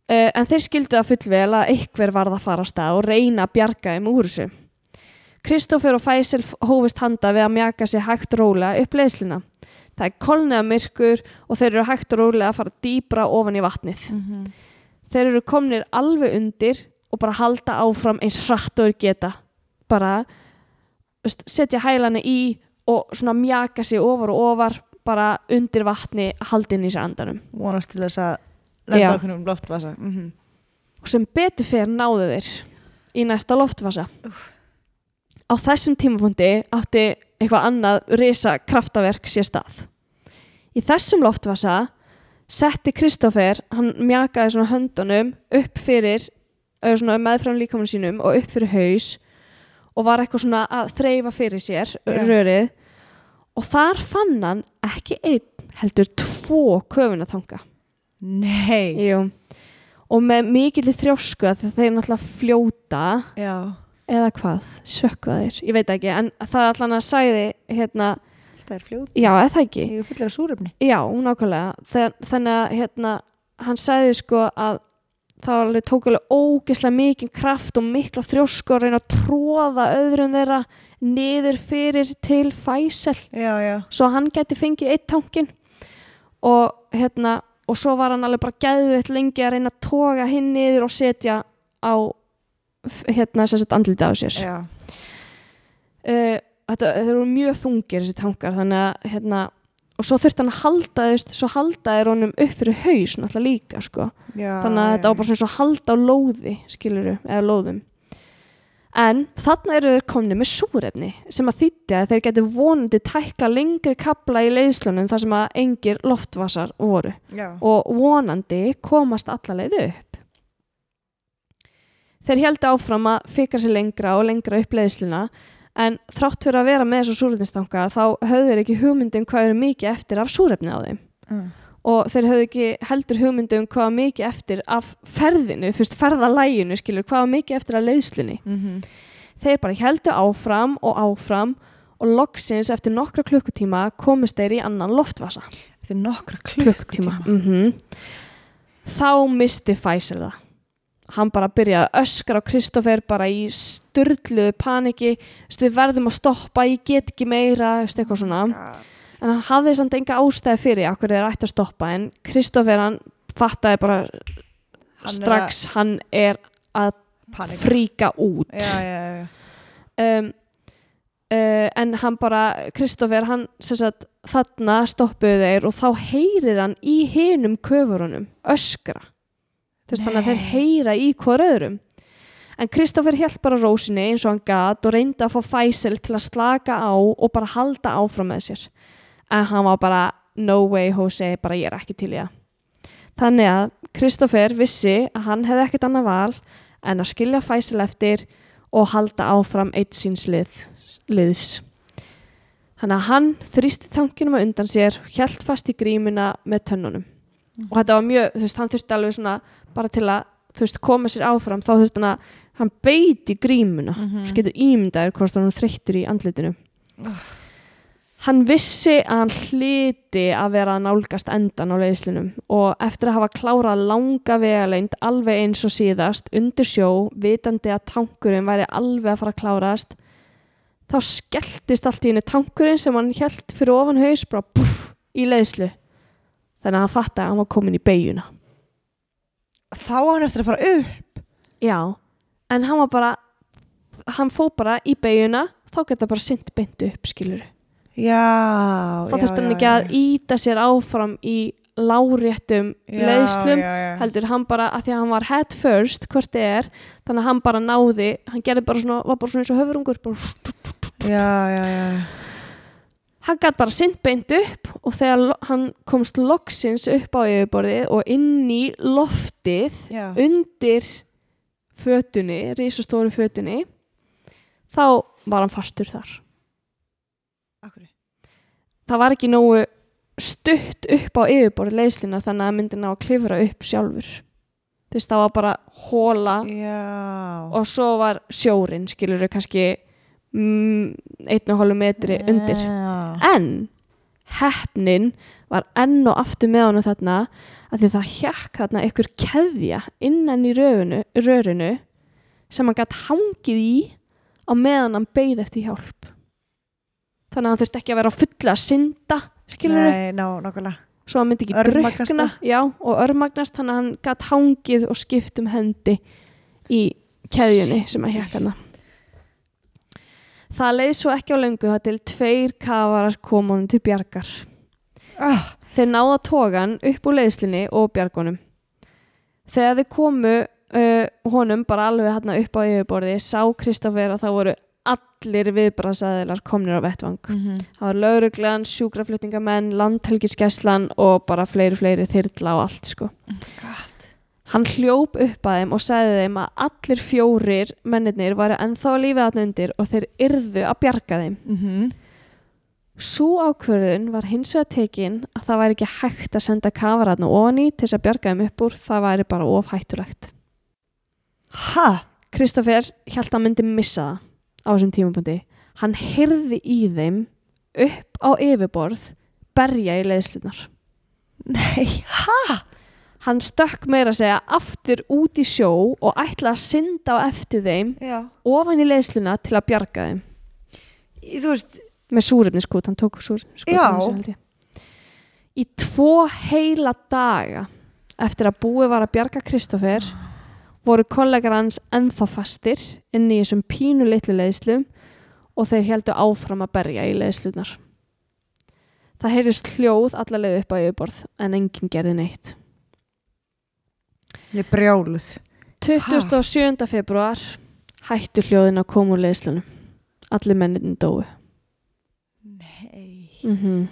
Uh, en þeir skildu það fullvel að einhver varð að fara af stað og reyna að bjarga þeim úr þessu. Kristoffer og Faisal hófist handa við að mjaka sig hægt rólega upp leiðsluna. Það er kolniða myrkur og þeir eru hægt rólega að fara dýbra ofan í vatnið. Mhm. Þeir eru komnir alveg undir og bara halda áfram eins hratt og þeir geta. Bara þú veist, setja hælana í og svona mjaka sig ofar og ofar bara undir vatni haldin í sér andanum. Vonast til þess að lenda Já. okkur um loftvasa. Mhm. Og sem betur fer náðu þeir í næsta loftvasa. Á þessum tímapunkti átti eitthvað annað risa kraftaverk sér stað. Í þessum loftvasa setti Kristoffer, hann mjakaði svona höndunum upp fyrir eða svona meðfram líkamann sínum og upp fyrir haus og var eitthvað svona að þreyfa fyrir sér Já. rörið og þar fann hann ekki einn heldur tvo köfunatanga Nei. Jú. og með mikilli þrjósku af því að þeir náttúrulega fljóta Já. eða hvað, sökvaðir, ég veit ekki en það allan að sagði hérna, Þetta er fljót. já, eða það ekki Ég er fullir af súrefni. Já, nákvæmlega. Þe- Þannig að hérna, hann sagði sko að það var alveg tók alveg ógeðslega mikinn kraft og mikla þrjósku að reyna að tróða öðrum þeirra niður fyrir til Faisal Já, já. svo hann gæti fengið eitt tankin og hérna og svo var hann alveg bara gæðvett lengi að reyna að toga hinn niður og setja á f- hérna sem sett andlita á sér Já. uh, þetta, þeir eru mjög þungir þessi tankar þannig að hérna og svo þurfti hann að halda þeir svo halda þeir honum upp fyrir haus náttúrulega líka sko Já, þannig að já, þetta var já. bara svona svo halda á lóði skiluru, eða lóðum en þarna eru þeir komni með súrefni sem að þýtti að þeir geti vonandi tækla lengri kapla í leiðslunum þar sem að engir loftvasar voru Já. og vonandi komast alla leið upp. Þeir heldu áfram að fikra sér lengra og lengra upp leiðsluna en þrátt fyrir að vera með þessu súrefnistanga þá höfðu þeir ekki hugmyndum hvað eru mikið eftir af súrefni á þeim Mm. og þeir höfðu ekki heldur hugmyndum hvað var mikið eftir af ferðinu, fyrst ferðalæginu skilur, hvað var mikið eftir af leiðslunni Mhm. þeir bara heldu áfram og áfram og loksins eftir nokkra klukkutíma komist þeir í annan loftvasa Þetta er nokkra klukkutíma klukkutíma. mm þá misti Faisal það hann bara byrjaði að öskra á Kristoffer bara í styrluðu paniki þú veist, við verðum að stoppa, ég get ekki meira þú veist, eitthvað svona en hann hafði samt enga ástæði fyrir akkur þeir ætti að stoppa en Kristoffer hann fattaði bara Hann er strax hann er að Panika. fríka út Já, já, já. um, uh, en hann bara Kristoffer, hann sem sagt þarna stoppuðu þeir og þá heyrir hann í hinum köfurunum öskra Þú veist, þannig að þeir Nei. heyra í hver öðrum en Kristoffer hjælt bara rósinni eins og hann gat og reyndi að fá Faisal til að slaka á og bara halda áfram með sér en hann var bara no way Jose, bara ég er ekki til í það þannig að Kristoffer vissi að hann hefði ekkert annað val en að skilja Faisal eftir og halda áfram eitt síns lið, liðs. Þannig að hann þrýsti þanginum að undan sér, hjælt fast í grímuna með tönnunum. Og þetta var mjög, þú veist, hann þurfti alveg svona bara til að, þú veist, koma sér áfram, þá þurfti hann að, hann beiti grímuna. Mm Mhm. -hmm. Skilur ímyndaður hvort hann var þreyttur í andlitinu. Hann vissi að hann hliti að vera að nálgast endan á leiðslinum og eftir að hafa klárað langa vegaleint alveg eins og síðast undir sjó, vitandi að tankurinn væri alveg að fara að klárast, þá skelltist allt í hennu tankurinn sem hann held fyrir ofan haus bara puff í leiðslu. Þannig að hann fattaði að hann var komin í beiguna. Þá á hann eftir að fara upp Já, en hann var bara, hann fó bara í beiguna, þá geta bara sint beintu upp, skilur Já, þá já, þurfti hann já, ekki að já. íta sér áfram í láréttum Já, leiðslum já, já. heldur hann bara að því að hann var head first hvort þið er, þannig að hann bara náði hann gerði bara svona, var bara svona eins og höfurungur bara, Já, já, já hann gætt bara sint beint upp og þegar lo- hann komst loksins upp á yfirborðið og inn í loftið Já. undir fötunni, risastóru fötunni þá var hann fastur þar Akkur það var ekki nógu stutt upp á yfirborð leiðslina þannig að myndi ná að klifra upp sjálfur þú veist það var bara hóla Já og svo var sjórin skilur þau kannski mm, einn og hólu metri undir Já, en hefnin var enn og aftur með honum þarna að því það hjekk þarna einhver keðja innan í röfunu, rörinu sem hann gætt hangið í á meðan hann beigð eftir hjálp þannig að hann þurfti ekki að vera á fulla að synda skilur Nei, ná, nákvæmlega svo hann myndi ekki Örmagnast drukkna já, og örmagnast þannig að hann gatt hangið og skipt um hendi í keðjunni sem að hjekka hann það leið svo ekki á löngu það til tveir kafarar kom honum til bjargar ah, þeir náða tógan upp úr leiðslinni og bjargunum þegar þeir komu uh, honum bara alveg hann upp á yfirborði sá Kristoffer að það voru allir viðbrasaðilar komnir á vettvang Það var lauruglan, sjúkraflutningamenn, landhelgiskeslan og bara fleiri, fleiri þyrla og allt sko. Hann hljóp upp að þeim og sagði þeim að allir fjórir mennirnir væru ennþá að lífi þarna undir og þeir yrðu að bjarga þeim. Mhm. Svo ákvörðun var hins vegar tekin að það væri ekki hægt að senda kafaratna ofan í til þess að bjarga þeim upp úr, það væri bara of hættulegt. Ha? Kristoffer held að hann myndi missa það á þessum tímapunkti. Hann heyrði í þeim upp á yfirborð berja í leiðslunar. Nei, ha? Hann stökk meira að segja aftur út í sjó og ætla að synda á eftir þeim Já ofan í leiðsluna til að bjarga þeim. Þú veist Með súrefniskút, hann tók súrefniskút. Já. Í tvo heila daga eftir að búið var að bjarga Kristoffer voru kollegar hans ennþá fastir inn í þessum pínu litlu leiðslum og þeir heldu áfram að berja í leiðslunar. Það heyrðist hljóð alla leið upp á yfirborð en enginn gerði neitt. Ég er brjáluð 27. februar hættu hljóðin að koma úr leiðslunum. Allir mennin dóu. Nei Mm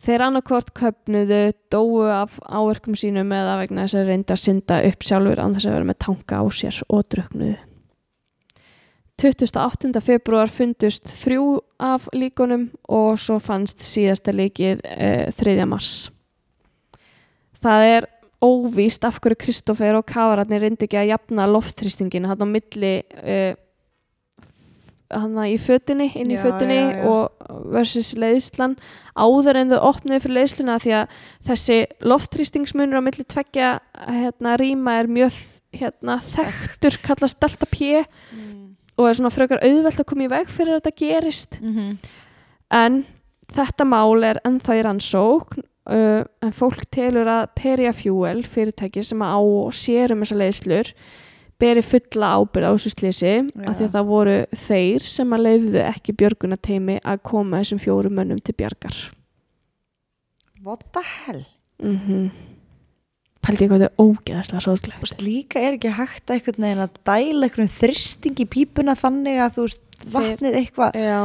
Þeir annarkvort köpnuðu, dóu af áverkum sínum eða vegna þess að reynda að synda upp sjálfur án þess að vera með tanka á sér og druknuðu. 28. februar fundust þrjú af líkunum og svo fannst síðasta líkið e, 3. mars. Það er óvíst af hverju Kristoffer og Kavararnir reyndi ekki að jafna loftþrýstingin hann á milli uh, hann í fötunni, inn í Já, fötunni já, já. og versus leiðslan áður en þau opnuðu fyrir leiðsluna því að þessi loftþrýstingsmunur á milli tveggja hérna, rýma er mjög hérna, þekktur, kallast delta P og er svona frekar auðvelt að koma í veg fyrir að þetta gerist Mhm. en þetta mál er ennþá í rannsókn uh, en fólk telur að Peria Fuel fyrirtæki sem á og sér um þessar leiðslur beri fulla ábyrð á þessu slísi af Já. því að það voru þeir sem að leifðu ekki björgunateimi að koma þessum fjórum mönnum til bjargar What the hell? mm Pældi ég hvað þetta er ógeðaslega sorglegt Þú veist, líka er ekki hægt að einhvern veginn að dæla einhvern þristing í pípuna þannig að þú veist vatnið eitthvað Já,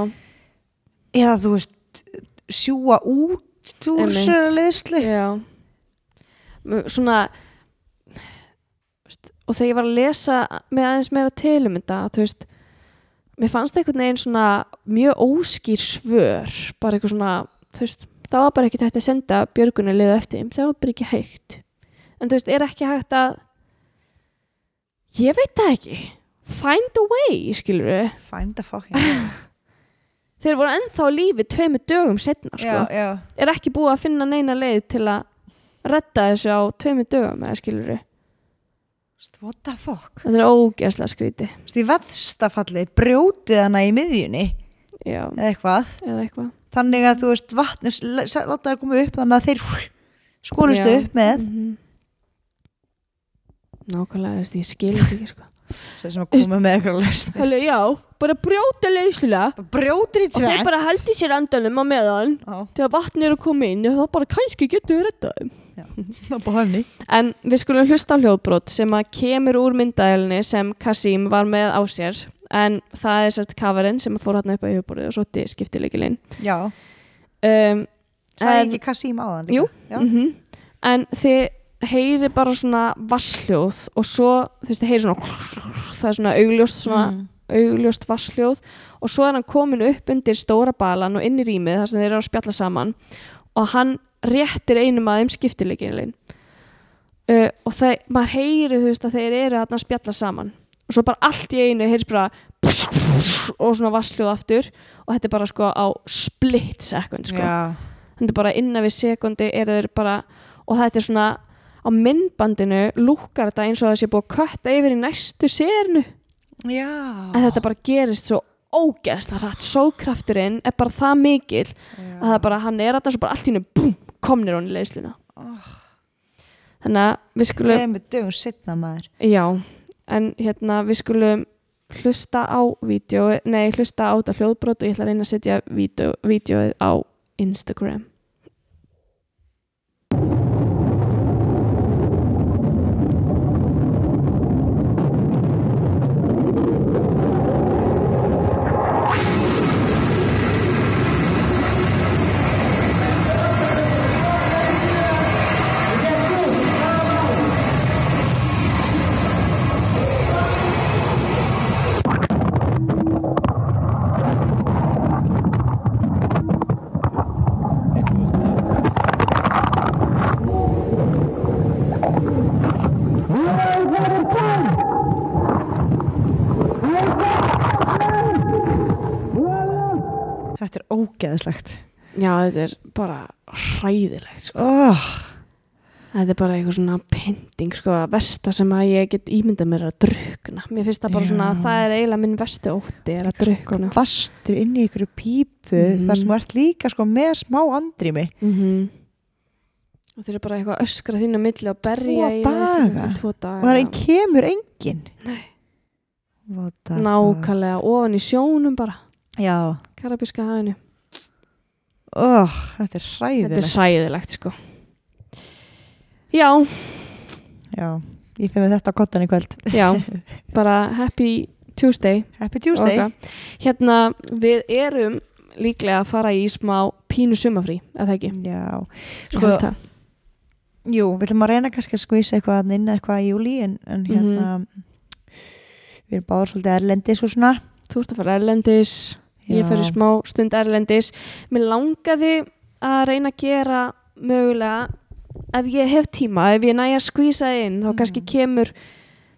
eða þú veist sjúa út úr Einmitt. sér að leiðslu Já M- Svona veist, og um þegar ég var að lesa með aðeins meira tilum þetta, þú veist mér fannst einhvern veginn svona mjög óskýr svör bara eitthvað svona, þú veist það var bara ekki hægt að senda björgunarlið eftir þeim það var bara ekki hægt en þú veist, er ekki hægt að ég veit það ekki find a way, skilur við Find a fucking way. þeir voru ennþá á lífi tveimur dögum setna [LAUGHS] sko. Já, já er ekki búið að finna neina leið til að redda þessu á tveimur dögum eða skilur við, Vist, What the fuck þetta er ógeðslega skríti Vist, Í verðstafalli brjótið hana í miðjunni já, eða eitthvað eða eitthvað Þannig að þú veist vatnus Láta það koma upp þannig að þeir skólustu Já. upp með Mhm. nákvæmlega, þú veist, ég skil þetta ekki sko. Svo sem að koma með eitthvað lausn Hello, já, bara brjóta leiðslulega Brjótir í og þeir tvennt bara heldur sér andanum á meðan Já, þegar vatn er að koma inn og þá bara kannski getur við reddað þeim það búið henni en við skulum hlusta á hljóðbrot sem að kemur úr myndagælunni sem Kasim var með á sér en það er sérst kafarinn sem fór hann upp á yfirborðið og svo þetta skiptileikilinn Já, um, sagði En- ekki Kasim á þann Jú. Já, mm en þið heyri bara svona vassljóð og svo þú veist, þið heyri svona [LAUGHS] það er svona augljóst svona Mm. augljóst vassljóð og svo er hann komin upp undir stóra balan og inn í rýmið þar sem þeir eru að spjalla saman og hann réttir einum að þeim skiptileikilin uh, og það, maður heyri þú veist að þeir eru þarna að spjalla saman og svo bara allt í einu heyris bara [LAUGHS] og svona vassljóð aftur og þetta er bara sko á split second sko já, þetta er bara innan við sekundi eru þeir bara og þetta er svona á myndbandinu lúkar þetta eins og það sé búið að kötta yfir í næstu sérnu já. en þetta bara gerist svo ógeðslega hratt sókrafturinn er bara það mikill að það bara hann er alltaf svo bara allt í hennu búm, komnir hún í leiðsluna Ah. þannig að við skulum Leðið með dögum sittna maður já, en hérna við skulum hlusta á vídeo, nei hlusta á þetta hljóðbrot og ég ætla að reyna að setja vídeo, vídeoið á Instagram Þetta er ógeðslegt Já, þetta er bara hræðilegt sko. oh. Þetta er bara eitthvað svona pynting sko, að versta sem að ég get ímyndað mér að drukna. Mér finnst það bara Já. svona að það er eiginlega minn versti ótti er að drukna. Fastur inn í ykkur pípu Mhm. þar sem þú ert líka sko með smá andrými Mm Og þeir eru bara eitthvað að öskra þínu á milli og berja Tvo í læðislega daga? Tvo daga. og það er ein, kemur engin Nei Nákvæmlega ofan í sjónum bara, Já, karabíska hafinu. oh, þetta er Þetta er hræðilegt hræðilegt sko. Já, Já, ég fyrir með þetta á kottan í kvöld já, [LAUGHS] bara happy Tuesday. Happy Tuesday Ok. Hérna, við erum líklega að fara í smá pínu sumafrí, eða það ekki? Já, Ég sko, held það. jú, við ætlum að reyna kannski að skvísa eitthvað þarna inn eitthvað í júli en, en Mhm. hérna við erum báður svolítið erlendis og svona þú ert að fara erlendis, ég Já. fer í smá stund erlendis. Mér langaði að reyna að gera mögulega, ef ég hef tíma, ef ég næja að skvísa það inn, þá kannski Mm. kemur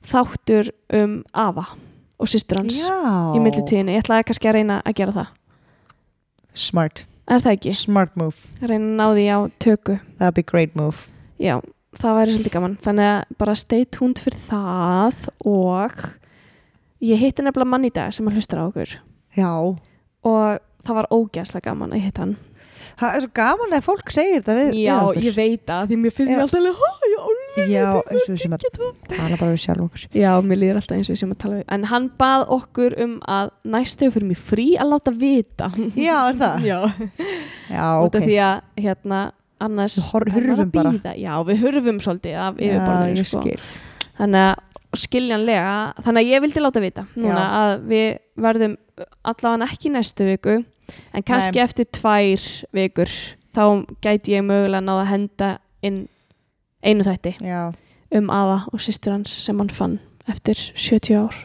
þáttur um afa og systur hans Já, í millitíðinni. Ég ætlaði kannski að reyna að gera það. Smart, Er það ekki? smart move Reyna að ná því á töku. That'd be great move Já, það væri svolítið gaman. Þannig að bara stay tuned fyrir það og ég hitti nefnilega mann í dag sem að hlustar á okkur Já, og það var ógæslega gaman að hitta hann. það er svo gaman að fólk segir þetta við Já, við okkur. ég veit það, því mér finnir Já. alltaf alveg, hæ, já, alveg. Já, eins og við sem að tala bara við sjálf okkur [LAUGHS] Já, mér líður alltaf eins og við sem að tala við. En hann bað okkur um að næst þegar fyrir mig frí að láta vita. Já, er það? Já, Já, út ok af því að, hérna, annars... Við hor- hann var að hurfum bara. bíða. Já, við hurfum svolítið af Já, yfirborðinu, ég sko. skil. þannig að skiljanlega þannig að ég vildi láta vita núna Já. að við verðum allavega ekki næstu viku en kannski Nei. eftir tvær vikur þá gæti ég mögulega náða að henda inn einu þætti Já, um afa og sýstur hans sem hann fann eftir 70 ár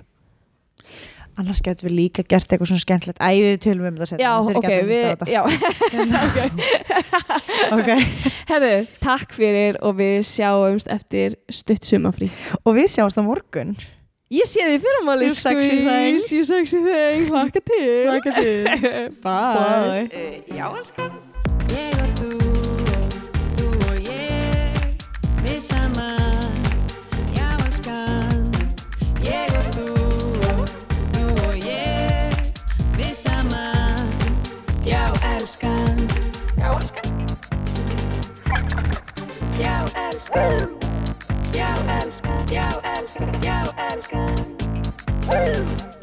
annars getum við líka gert eitthvað svona skemmtilegt æ, við tölum um það setna Já, ok, við, já, [LAUGHS] okay. [LAUGHS] herðu, takk fyrir og við sjáumst eftir stutt sumafrí. og við sjáumst á morgun Ég sé því fyrramáli, You sexy thing. You sexy thing, hlaka til. Hlakka til. Bye. Eh, já, elskan Ég og þú, þú og ég, við saman, já elskan. Ég og þú, þú og ég, við saman, já elskan. Já elskan. Já elskan. Já elskan, já elskan, já elskan.